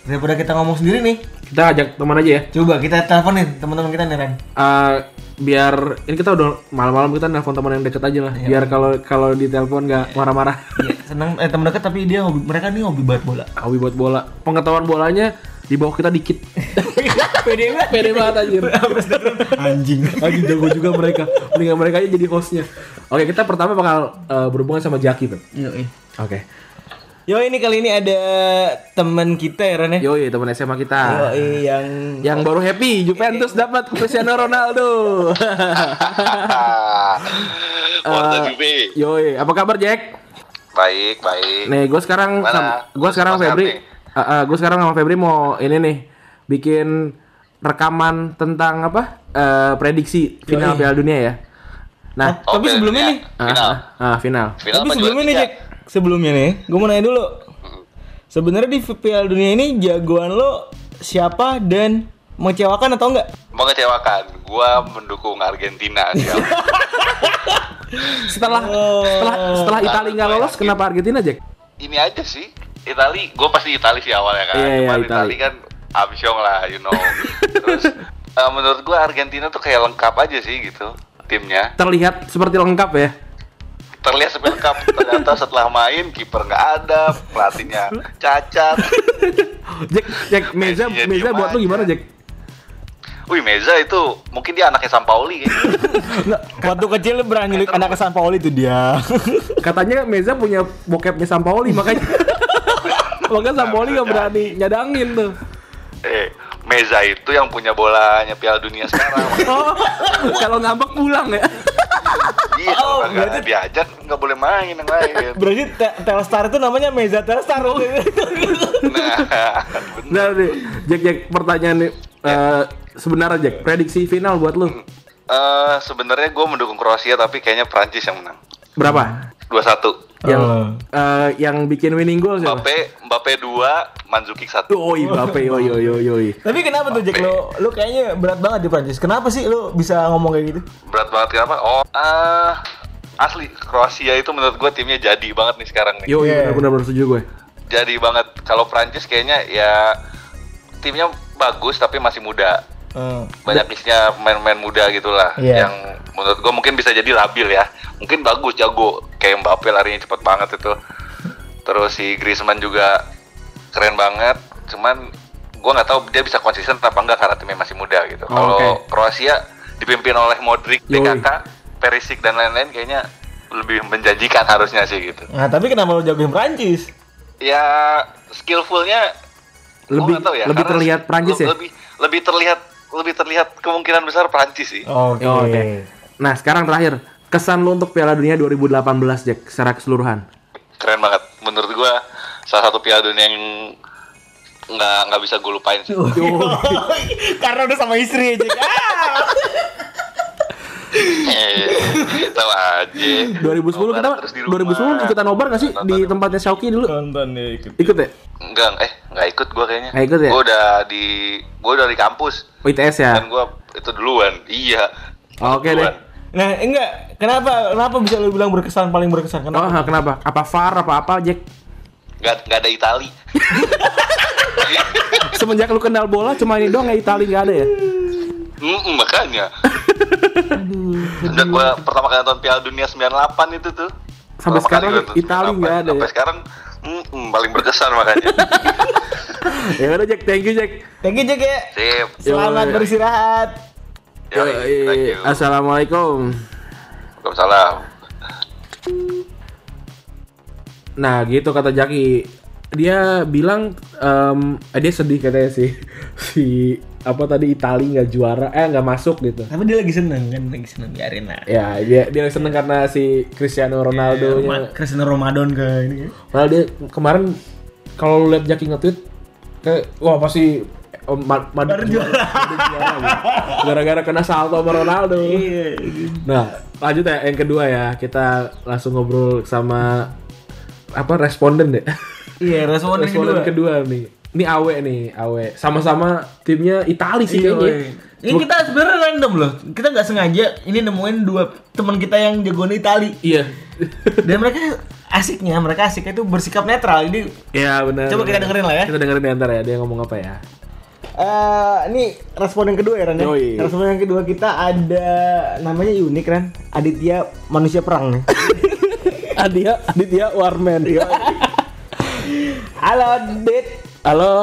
Speaker 1: daripada kita ngomong sendiri nih,
Speaker 2: Kita ajak teman aja ya.
Speaker 1: coba kita teleponin teman-teman kita nih Ren.
Speaker 2: Eh, biar ini kita udah malam-malam kita nelpon teman yang deket aja lah. Biar kalau kalau ditelepon nggak marah-marah.
Speaker 1: Iya, senang eh teman dekat tapi dia hobi, mereka nih hobi banget bola.
Speaker 2: Hobi buat bola. Pengetahuan bolanya di bawah kita dikit.
Speaker 1: Iya, Pede banget.
Speaker 2: Pede banget anjir.
Speaker 1: Anjing.
Speaker 2: Lagi jago juga mereka. Mendingan mereka aja jadi hostnya. Oke, kita pertama bakal eh, berhubungan sama Jaki, Bro.
Speaker 1: Yo,
Speaker 2: Oke.
Speaker 1: Yo ini kali ini ada teman kita ya Ren ya.
Speaker 2: Yoi, teman SMA kita.
Speaker 1: Yoi, yang
Speaker 2: Yang baru happy, Juventus dapat Cristiano Ronaldo.
Speaker 3: Ah, What the Juve.
Speaker 2: Eh, Yoi, apa kabar Jack?
Speaker 3: Eh, Baik, baik.
Speaker 2: Nih, gue sekarang
Speaker 3: Mana?
Speaker 2: sama, gue sekarang
Speaker 3: Mas
Speaker 2: Febri, gue sekarang sama Febri mau ini nih bikin rekaman tentang apa eh, prediksi final Piala Dunia ya. Nah,
Speaker 3: Oh,
Speaker 1: tapi
Speaker 3: Piala
Speaker 1: sebelumnya
Speaker 3: Dunia.
Speaker 1: nih,
Speaker 2: ah,
Speaker 3: Final.
Speaker 2: ah, ah, final.
Speaker 3: Final
Speaker 1: Tapi
Speaker 3: apa Iya.
Speaker 1: sebelumnya
Speaker 3: juara
Speaker 1: nih,
Speaker 3: tiga?
Speaker 1: Jack. Sebelumnya nih, gue mau nanya dulu. Sebenarnya di Piala Dunia ini jagoan lo siapa dan mengecewakan atau enggak?
Speaker 3: Mengecewakan. Gua mendukung Argentina. siap.
Speaker 2: Setelah
Speaker 1: Oh.
Speaker 2: setelah setelah Italia nggak lolos, kenapa Argentina Jack?
Speaker 3: Ini aja sih. Itali, gue pasti Itali sih awalnya kan.
Speaker 2: Iya, iya,
Speaker 3: Cuman
Speaker 2: Itali.
Speaker 3: Itali kan absyong lah, you know. Terus eh, menurut gue Argentina tuh kayak lengkap aja sih gitu timnya.
Speaker 2: Terlihat seperti lengkap ya.
Speaker 3: terlihat seperti lengkap ternyata setelah main kiper nggak ada pelatihnya cacat
Speaker 2: Jack, Jack Meza,
Speaker 3: Iya,
Speaker 2: Meza
Speaker 3: diem
Speaker 2: buat lu
Speaker 3: aja.
Speaker 2: gimana Jack?
Speaker 3: wih Meza itu mungkin dia anaknya Sampaoli kayaknya.
Speaker 1: Waktu kecil lo berani lihat anak San Pauli itu dia.
Speaker 2: Katanya Meza punya bokepnya Sampaoli makanya. Makanya Sampaoli nggak berani nyadangin tuh.
Speaker 3: eh Meza itu yang punya bolanya Piala Dunia sekarang
Speaker 2: Oh, kalau ngambek pulang ya.
Speaker 3: iya
Speaker 1: Oh,
Speaker 3: kalau nggak
Speaker 1: berarti-
Speaker 3: diajak nggak boleh main yang lain
Speaker 1: Berarti Te- Telstar itu namanya Meza Telstar.
Speaker 3: nah bener.
Speaker 2: Nah nih, Jack Jack pertanyaan nih. Eh, sebenarnya Jack, prediksi final buat lu
Speaker 3: Eh, sebenarnya gue mendukung Kroasia tapi kayaknya Prancis yang menang
Speaker 2: berapa?
Speaker 3: 2-1
Speaker 2: Yang eh, yang bikin winning goal siapa?
Speaker 3: Mbappe Mbappe 2 Mandzukic 1
Speaker 2: Yoi, Mbappe, yoi, yoi, yoi, yoi.
Speaker 1: Tapi kenapa tuh Jack lo lo kayaknya berat banget di Prancis. Kenapa sih lo bisa ngomong kayak gitu?
Speaker 3: berat banget kenapa oh eh, asli Kroasia itu menurut gue timnya jadi banget nih sekarang nih
Speaker 2: Yoi,
Speaker 1: Yeah.
Speaker 2: benar-benar setuju gue.
Speaker 3: jadi banget kalau Prancis kayaknya ya timnya bagus tapi masih muda
Speaker 1: Eh.
Speaker 3: banyak isinya pemain-pemain muda gitulah
Speaker 1: Iya.
Speaker 3: yang menurut gue mungkin bisa jadi labil ya mungkin bagus jago kayak Mbappe larinya cepet banget itu terus si Griezmann juga keren banget cuman gue nggak tahu dia bisa konsisten apa enggak karena timnya masih muda
Speaker 2: Oh,
Speaker 3: gitu kalau
Speaker 2: oke.
Speaker 3: Kroasia dipimpin oleh Modric,
Speaker 2: Yoi.
Speaker 3: DKK, Perisic dan lain-lain kayaknya lebih menjanjikan harusnya sih gitu
Speaker 1: Nah, tapi kenapa lo jagoin Prancis?
Speaker 3: ya skillfulnya gua
Speaker 2: Lebih-
Speaker 3: nggak tahu
Speaker 2: lebih
Speaker 3: karena
Speaker 2: terlihat Prancis ya?
Speaker 3: lebih lebih terlihat lebih terlihat kemungkinan besar Prancis sih
Speaker 1: Oke.
Speaker 2: Yo, Oke. Nah, sekarang terakhir, kesan lu untuk Piala Dunia 2018 Jack secara keseluruhan.
Speaker 3: keren banget menurut gua salah satu Piala Dunia yang nggak nggak bisa gue lupain sih.
Speaker 2: Oh.
Speaker 1: Karena udah sama istri aja. kan?
Speaker 3: Eh, Tahu aja.
Speaker 2: 2010 kita
Speaker 3: Nobar terus Oh, di rumah. Iya.
Speaker 2: 2010 ikutan nobar gak sih di tempatnya Xiaoki dulu?
Speaker 1: Nonton ya ikut.
Speaker 2: Ikut ya?
Speaker 3: Enggak, eh nggak ikut gua kayaknya.
Speaker 2: Nggak ikut ya?
Speaker 3: Gua udah di gua udah di kampus
Speaker 2: Oh, ITS ya.
Speaker 3: dan gua itu duluan. Iya.
Speaker 2: Oke deh.
Speaker 3: Duluan.
Speaker 1: Nah, enggak. Kenapa? Kenapa bisa lu bilang berkesan paling berkesan?
Speaker 2: Oh,
Speaker 1: Kenapa?
Speaker 2: kenapa? Apa VAR apa apa, Jack?
Speaker 3: Gak, gak ada Itali.
Speaker 2: Semenjak lu kenal bola cuma ini doang ya Itali nggak ada ya?
Speaker 3: Mm, makanya. Udah gua pertama kali nonton Piala Dunia 98 itu tuh.
Speaker 2: Sampai
Speaker 3: Pertama kali
Speaker 2: sekarang
Speaker 3: gua nonton
Speaker 2: Itali nggak
Speaker 3: 98.
Speaker 2: ada ya?
Speaker 3: Sampai sekarang mm, mm, paling berkesan makanya.
Speaker 2: Ya udah Jack, thank you Jack.
Speaker 1: Thank you Jack ya.
Speaker 3: Sip.
Speaker 1: Selamat
Speaker 2: Yoi.
Speaker 1: beristirahat.
Speaker 3: Yoi, Ya, thank you.
Speaker 2: Assalamualaikum.
Speaker 3: Waalaikumsalam.
Speaker 2: Nah gitu kata Jaki dia bilang em, eh, dia sedih katanya sih si apa tadi Itali nggak juara eh nggak masuk gitu
Speaker 1: Tapi dia lagi seneng kan, lagi seneng biarin lah.
Speaker 2: ya dia dia seneng karena si Cristiano Ronaldo nya
Speaker 1: Kristen Ramadan ke ini.
Speaker 2: Padahal dia kemarin kalau lu lihat Jaki nge-tweet kayak wah pasti Om Ma- Madrid juara. Madrid juara gitu. Gara-gara kena salto sama Ronaldo.
Speaker 1: Iya.
Speaker 2: Nah, lanjut ya yang kedua ya. Kita langsung ngobrol sama apa responden deh.
Speaker 1: Iya, responden kedua.
Speaker 2: responden kedua. nih. Ini Awe nih, Awe. Sama-sama timnya Itali
Speaker 1: Iya,
Speaker 2: sih kayaknya.
Speaker 1: Ini kita sebenarnya random loh. Kita nggak sengaja ini nemuin dua teman kita yang jagoan Itali
Speaker 2: Iya.
Speaker 1: dan mereka asiknya, mereka asiknya itu bersikap netral. Jadi
Speaker 2: Iya benar.
Speaker 1: Coba kita dengerin lah ya.
Speaker 2: Kita dengerin ya, ntar ya dia ngomong apa ya.
Speaker 1: eh ini respon yang kedua ya Ran ya?
Speaker 2: Yoi.
Speaker 1: Respon yang kedua kita ada namanya unik Ran Aditya manusia perang nih
Speaker 2: Adia, Iya. Aditya Warman.
Speaker 1: Halo Dit
Speaker 2: Halo.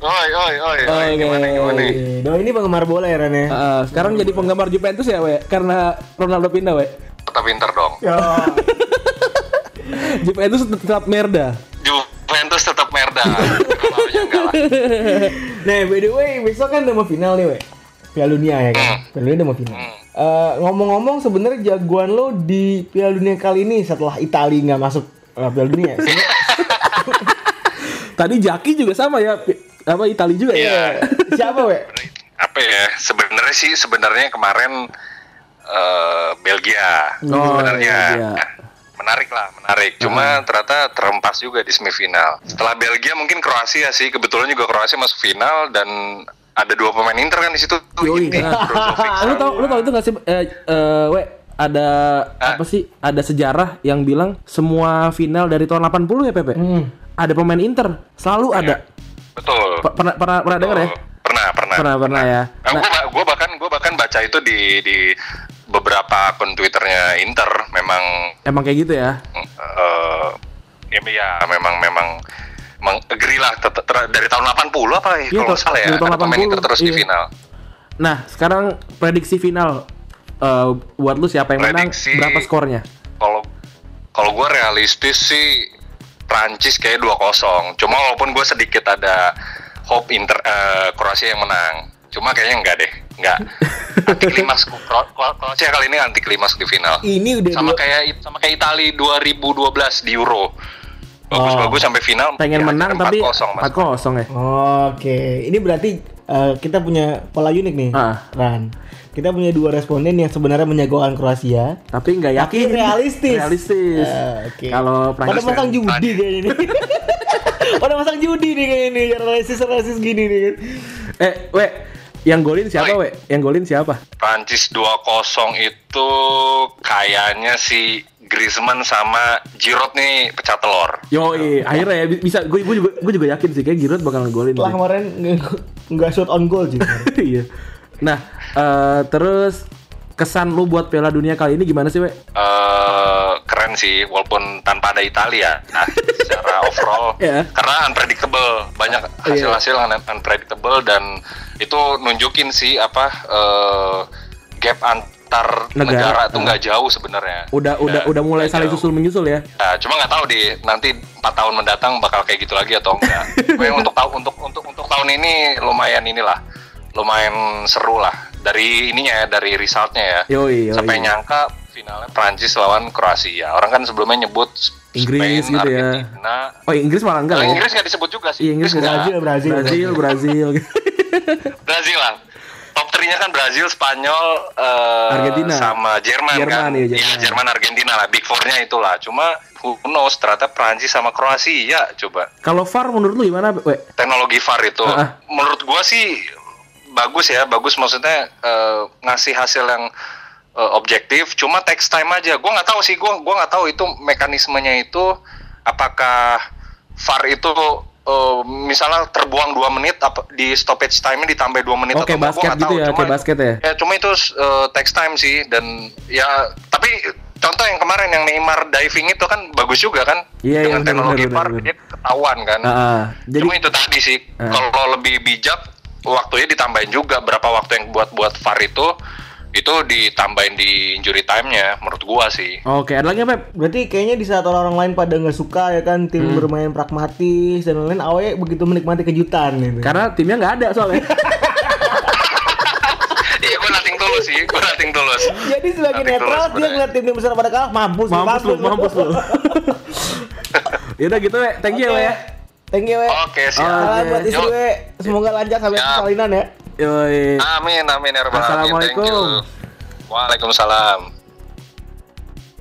Speaker 3: Oi, oi, oi, oi,
Speaker 2: Oke.
Speaker 3: gimana, gimana?
Speaker 1: Eh, Doi ini penggemar bola ya Ran ya
Speaker 2: Ah, sekarang jadi penggemar Juventus ya, we? Karena Ronaldo pindah, we.
Speaker 3: Tetap pinter dong.
Speaker 1: Yo.
Speaker 2: Juventus tetap merda.
Speaker 3: Juventus tetap merda. Ronaldonya enggak lah.
Speaker 1: Nah by the way besok kan udah mau final nih weh Piala Dunia ya kan Piala Dunia udah mau final Eh, Ngomong-ngomong sebenarnya jagoan lo di Piala Dunia kali ini setelah Itali nggak masuk eh, Piala Dunia Sebenarnya
Speaker 2: Tadi Jaki juga sama ya, Pi- apa Itali juga ya.
Speaker 3: Iya.
Speaker 1: Siapa weh?
Speaker 3: Apa ya? Sebenarnya sih sebenarnya kemarin eh, Belgia
Speaker 2: Oh,
Speaker 3: sebenarnya.
Speaker 2: Belgia. Ah.
Speaker 3: Menarik lah, menarik. Cuma ternyata terempas juga di semifinal. Setelah Belgia mungkin Kroasia sih. Kebetulan juga Kroasia masuk final dan ada dua pemain Inter kan di situ. tuh,
Speaker 2: Yoi. Ah.
Speaker 3: Inti, Brozovic,
Speaker 2: lu tau lu tau itu nggak sih eh, eh, we ada apa sih ada sejarah yang bilang semua final dari tahun 80 ya Pepe ada pemain Inter selalu ada
Speaker 3: Betul.
Speaker 2: Pa- pernah pernah pernah dengar ya
Speaker 3: Oh, Pernah, pernah.
Speaker 2: pernah pernah ya
Speaker 3: Nah, gue bahkan gue bahkan baca itu di di beberapa akun twitternya Inter memang
Speaker 2: emang kayak gitu ya
Speaker 3: eh ya, ya memang memang mengagri lah tet- ter- dari tahun 80 apa ya
Speaker 2: Iya,
Speaker 3: kalau
Speaker 2: ta-
Speaker 3: nggak salah ya
Speaker 2: dari tahun
Speaker 3: ada pemain
Speaker 2: 80,
Speaker 3: Inter terus di
Speaker 2: iya.
Speaker 3: final
Speaker 2: nah sekarang prediksi final eh, buat lu siapa yang menang
Speaker 3: Prediksi-
Speaker 2: berapa skornya
Speaker 3: kalau kalau gue realistis sih Prancis kayak 2-0 cuma walaupun gue sedikit ada hope Inter eh, Kroasia yang menang cuma kayaknya enggak deh enggak anti klimaks Kro- Kro- Kroasia kali ini anti klimaks di final
Speaker 2: Iya,
Speaker 1: Ini udah
Speaker 3: sama
Speaker 1: dua-
Speaker 3: kayak sama kayak Itali 2012 di Euro bagus-bagus sampai final
Speaker 2: Oh. pengen
Speaker 3: ya,
Speaker 2: menang
Speaker 3: akhirnya
Speaker 2: tapi
Speaker 3: 4-0 mas.
Speaker 2: 4-0 ya.
Speaker 1: Oke, ini berarti eh, kita punya pola unik nih,
Speaker 2: Ah.
Speaker 1: Ran. Kita punya dua responden yang sebenarnya menjagokan Kroasia.
Speaker 2: Tapi nggak yakin.
Speaker 1: Tapi realistis.
Speaker 2: Realistis.
Speaker 1: Ah, Oke.
Speaker 2: Kalau
Speaker 1: pada
Speaker 2: Prancis
Speaker 1: masang
Speaker 2: kan-
Speaker 1: judi kayak ini. pada masang judi nih kayak ini, realistis realistis gini nih. kan.
Speaker 2: eh we yang golin siapa we? Yang golin siapa?
Speaker 3: Prancis 2-0 itu kayaknya si Griezmann sama Giroud nih pecah telur
Speaker 2: Yoi, akhirnya ya bi- bisa gue gue juga gue juga yakin sih kayak Giroud bakal ngegolin.
Speaker 1: Lah
Speaker 2: sih.
Speaker 1: kemarin nge- nggak shoot on goal sih.
Speaker 2: Iya. Nah, eh, terus kesan lu buat Piala Dunia kali ini gimana sih, we?
Speaker 3: eh keren sih walaupun tanpa ada Italia nah, secara overall
Speaker 2: Iya.
Speaker 3: karena unpredictable banyak hasil-hasil yang un- unpredictable dan itu nunjukin sih apa eh, gap antar
Speaker 2: Negara.
Speaker 3: negara, tuh nggak jauh sebenarnya
Speaker 2: Udah udah
Speaker 3: Ya,
Speaker 2: udah mulai
Speaker 3: nggak
Speaker 2: saling
Speaker 3: jauh.
Speaker 2: susul menyusul ya.
Speaker 3: Nah, cuma nggak tahu di nanti 4 tahun mendatang bakal kayak gitu lagi atau enggak. Gue yang untuk tahun untuk untuk untuk tahun ini lumayan inilah, lumayan seru lah dari ininya ya, dari resultnya ya.
Speaker 2: Yoi, yoi.
Speaker 3: Sampai nyangka finalnya Prancis lawan Kroasia. Orang kan sebelumnya nyebut
Speaker 2: Inggris
Speaker 3: Spain,
Speaker 2: gitu ya.
Speaker 3: Argentina.
Speaker 2: Oh Inggris malah enggak
Speaker 3: Nah,
Speaker 2: lah ya.
Speaker 3: Inggris nggak disebut juga sih.
Speaker 2: Iya Inggris
Speaker 3: nggak.
Speaker 2: enggak.
Speaker 1: Brazil,
Speaker 2: Brazil, Brazil.
Speaker 3: Brazil lah. Top 3-nya kan Brazil, Spanyol, eh,
Speaker 2: Argentina.
Speaker 3: sama Jerman,
Speaker 2: Jerman,
Speaker 3: kan.
Speaker 2: iya, Jerman.
Speaker 3: Jerman. Jerman, Argentina lah. Big Four-nya itulah. Cuma who knows, ternyata Prancis sama Kroasia coba.
Speaker 2: Kalau VAR menurut lu gimana, We?
Speaker 3: Teknologi VAR itu.
Speaker 2: Ah,
Speaker 3: Menurut gua sih bagus ya. Bagus maksudnya eh, ngasih hasil yang eh, objektif. Cuma text time aja. Gua nggak tahu sih. Gua gua nggak tahu itu mekanismenya itu apakah VAR itu eh, misalnya terbuang dua menit apa di stoppage time-nya ditambah dua menit
Speaker 2: Oh, kayak
Speaker 3: enggak, gua
Speaker 2: basket
Speaker 3: nggak
Speaker 2: gitu
Speaker 3: tahu.
Speaker 2: ya,
Speaker 3: Cuma
Speaker 2: kayak basket ya?
Speaker 3: Ya cuma itu uh, text time sih dan ya tapi contoh yang kemarin yang Neymar diving itu kan bagus juga kan
Speaker 2: Iya, iya,
Speaker 3: dengan
Speaker 2: benar,
Speaker 3: teknologi
Speaker 2: benar,
Speaker 3: VAR
Speaker 2: benar.
Speaker 3: dia ketahuan kan.
Speaker 2: Ah, ah. Jadi
Speaker 3: cuma itu tadi sih
Speaker 2: Ah.
Speaker 3: kalau lebih bijak waktunya ditambahin juga berapa waktu yang buat buat VAR itu itu ditambahin di injury time-nya menurut gua sih.
Speaker 2: Oke, ada lagi apa? Pep?
Speaker 1: Berarti kayaknya di saat orang-orang lain pada nggak suka ya kan tim
Speaker 2: Hmm.
Speaker 1: bermain pragmatis dan lain-lain, awe begitu menikmati kejutan gitu.
Speaker 2: Karena timnya nggak ada soalnya.
Speaker 3: Iya, gua nating tulus sih, gua nating tulus.
Speaker 1: Jadi sebagai
Speaker 3: Nanti
Speaker 1: netral
Speaker 3: keluar
Speaker 1: dia
Speaker 3: sebenarnya.
Speaker 1: ngeliat tim-tim besar pada kalah, mampus, lu,
Speaker 2: mampus lu, mampus lu. Yaudah gitu, We. Thank you, We. ya.
Speaker 1: Thank you, we.
Speaker 3: Oke, siap.
Speaker 1: Salam
Speaker 2: Oke.
Speaker 1: buat istri,
Speaker 3: Yuk.
Speaker 1: we. Semoga lancar sampai
Speaker 3: Siap.
Speaker 1: persalinan ya.
Speaker 2: Yoi.
Speaker 3: Amin, amin ya rabbal alamin. Thank you.
Speaker 2: Assalamualaikum.
Speaker 3: Waalaikumsalam.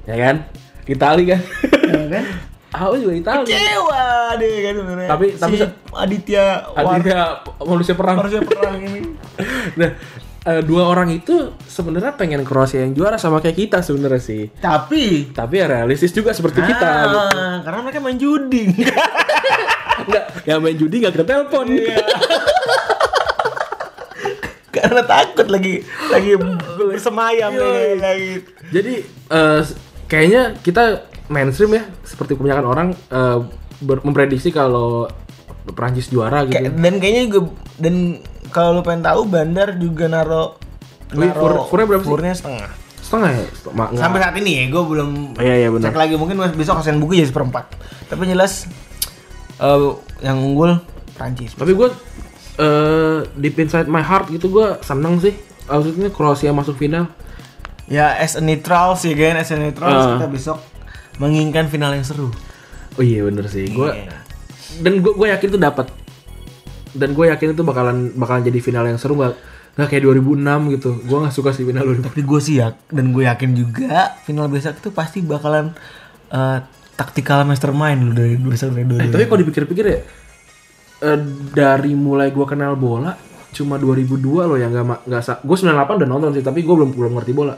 Speaker 2: Ya kan? Itali kan?
Speaker 1: Ya kan?
Speaker 2: Aku juga Itali.
Speaker 1: Kecewa deh kan sebenarnya.
Speaker 2: Tapi-
Speaker 1: Si
Speaker 2: tapi se-
Speaker 1: Aditya War-
Speaker 2: Aditya manusia perang.
Speaker 1: harusnya perang ini.
Speaker 2: Nah, eh, dua orang itu sebenarnya pengen Kroasia yang juara sama kayak kita sebenarnya sih.
Speaker 1: Tapi
Speaker 2: Tapi ya realistis juga seperti kita. gitu.
Speaker 1: Ah, karena mereka main judi.
Speaker 2: Nggak, yang main judi nggak kena telepon.
Speaker 1: karena takut lagi lagi bersemayam nih lagi.
Speaker 2: Jadi eh, s- kayaknya kita mainstream ya, seperti kebanyakan orang eh, ber- memprediksi kalau Perancis juara gitu.
Speaker 1: Kayak- dan kayaknya juga dan kalau lu pengen tahu bandar juga naro
Speaker 2: Wih, fur- furnya berapa sih?
Speaker 1: Furnya setengah.
Speaker 2: Setengah ya? Setengah, nggak.
Speaker 1: Sampai saat ini ya, gue belum
Speaker 2: Oh, iya, iya, benar.
Speaker 1: cek lagi. Mungkin mas- besok kasihan buku jadi seperempat. Tapi jelas eh, yang unggul Prancis.
Speaker 2: Tapi gue eh deep inside my heart gitu gue seneng sih. Maksudnya Kroasia masuk final.
Speaker 1: Ya as a neutral sih, gen as a neutral
Speaker 2: Ah.
Speaker 1: kita besok menginginkan final yang seru.
Speaker 2: Oh iya bener sih. Gue dan gue yakin itu dapat. Dan gue yakin itu bakalan bakalan jadi final yang seru nggak nggak kayak 2006 gitu. Gue nggak suka sih final 2000.
Speaker 1: Tapi gue sih ya, dan gue yakin juga final besok itu pasti bakalan eh, tactical mastermind lu dari besok dari dua.
Speaker 2: Tapi kalau dipikir-pikir ya eh, dari mulai gue kenal bola cuma 2002 loh yang nggak ma- nggak sa- gue 98 udah nonton sih tapi gue belum belum ngerti bola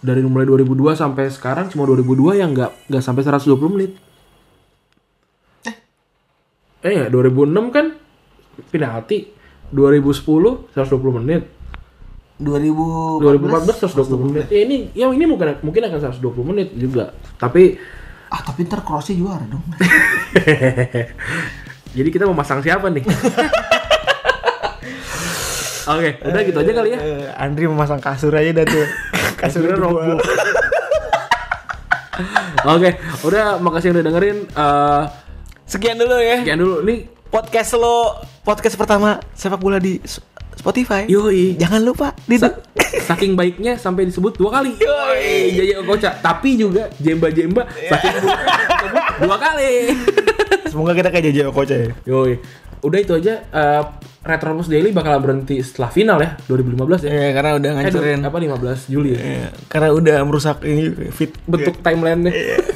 Speaker 2: dari mulai 2002 sampai sekarang cuma 2002 yang nggak nggak sampai 120 menit eh ya, 2006 kan penalti 2010 120 menit
Speaker 1: 2000
Speaker 2: 2014 120 menit ya ini ya ini mungkin mungkin akan 120 menit juga tapi
Speaker 1: ah tapi ntar crossnya juara dong.
Speaker 2: Jadi kita mau masang siapa nih? Oke, udah gitu aja kali ya.
Speaker 1: Eh, Andri memasang kasur aja dah tuh. Kasurnya roboh.
Speaker 2: Oke, udah makasih yang udah dengerin. Eh,
Speaker 1: Sekian dulu ya.
Speaker 2: sekian dulu nih.
Speaker 1: Podcast lo, podcast pertama sepak bola di S- Spotify.
Speaker 2: Yoi.
Speaker 1: Jangan lupa di
Speaker 2: Sa- saking baiknya sampai disebut dua kali.
Speaker 1: Yoi.
Speaker 2: Jaya Okocha. Tapi juga jemba-jemba saking buruknya disebut dua kali.
Speaker 1: Semoga kita kayak Jaja Okocha ya.
Speaker 2: Yoi. Udah itu aja. Eh, Retropus Daily bakal berhenti setelah final ya 2015 ya.
Speaker 1: Iya, karena udah
Speaker 2: Eh,
Speaker 1: ngancurin.
Speaker 2: apa 15 Juli ya.
Speaker 1: Iya, karena udah merusak ini fit.
Speaker 2: bentuk timelinenya.
Speaker 1: Iya.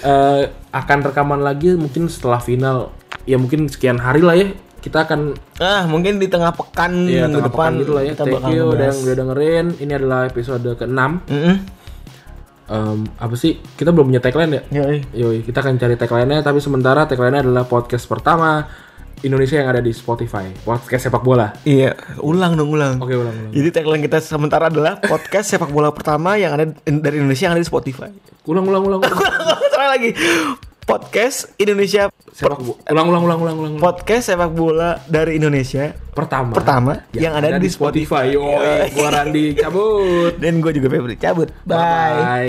Speaker 2: Eh, akan rekaman lagi mungkin setelah final ya mungkin sekian hari lah ya kita akan
Speaker 1: Ah, mungkin di Iya, tengah pekan
Speaker 2: ya
Speaker 1: minggu
Speaker 2: tengah
Speaker 1: depan
Speaker 2: pekan gitu lah ya
Speaker 1: kita
Speaker 2: thank
Speaker 1: bakal
Speaker 2: you udah
Speaker 1: ngebahas.
Speaker 2: udah dengerin ini adalah episode ke-6
Speaker 1: Mm-mm.
Speaker 2: apa sih kita belum punya tagline ya
Speaker 1: Yoi.
Speaker 2: yoi kita akan cari tagline-nya tapi sementara tagline-nya adalah podcast pertama Indonesia yang ada di Spotify podcast sepak bola
Speaker 1: Iya, ulang dong ulang.
Speaker 2: oke ulang ulang
Speaker 1: Jadi tagline kita sementara adalah podcast sepak bola pertama yang ada dari Indonesia yang ada di Spotify.
Speaker 2: ulang ulang ulang ulang.
Speaker 1: Salah lagi. Podcast Indonesia
Speaker 2: sepak bola ulang ulang ulang ulang ulang
Speaker 1: podcast sepak bola dari Indonesia
Speaker 2: pertama
Speaker 1: Pertama, yang ada di
Speaker 2: Spotify, Spotify. yoi gua Randi cabut
Speaker 1: dan gue juga Febri cabut. Bye.
Speaker 2: bye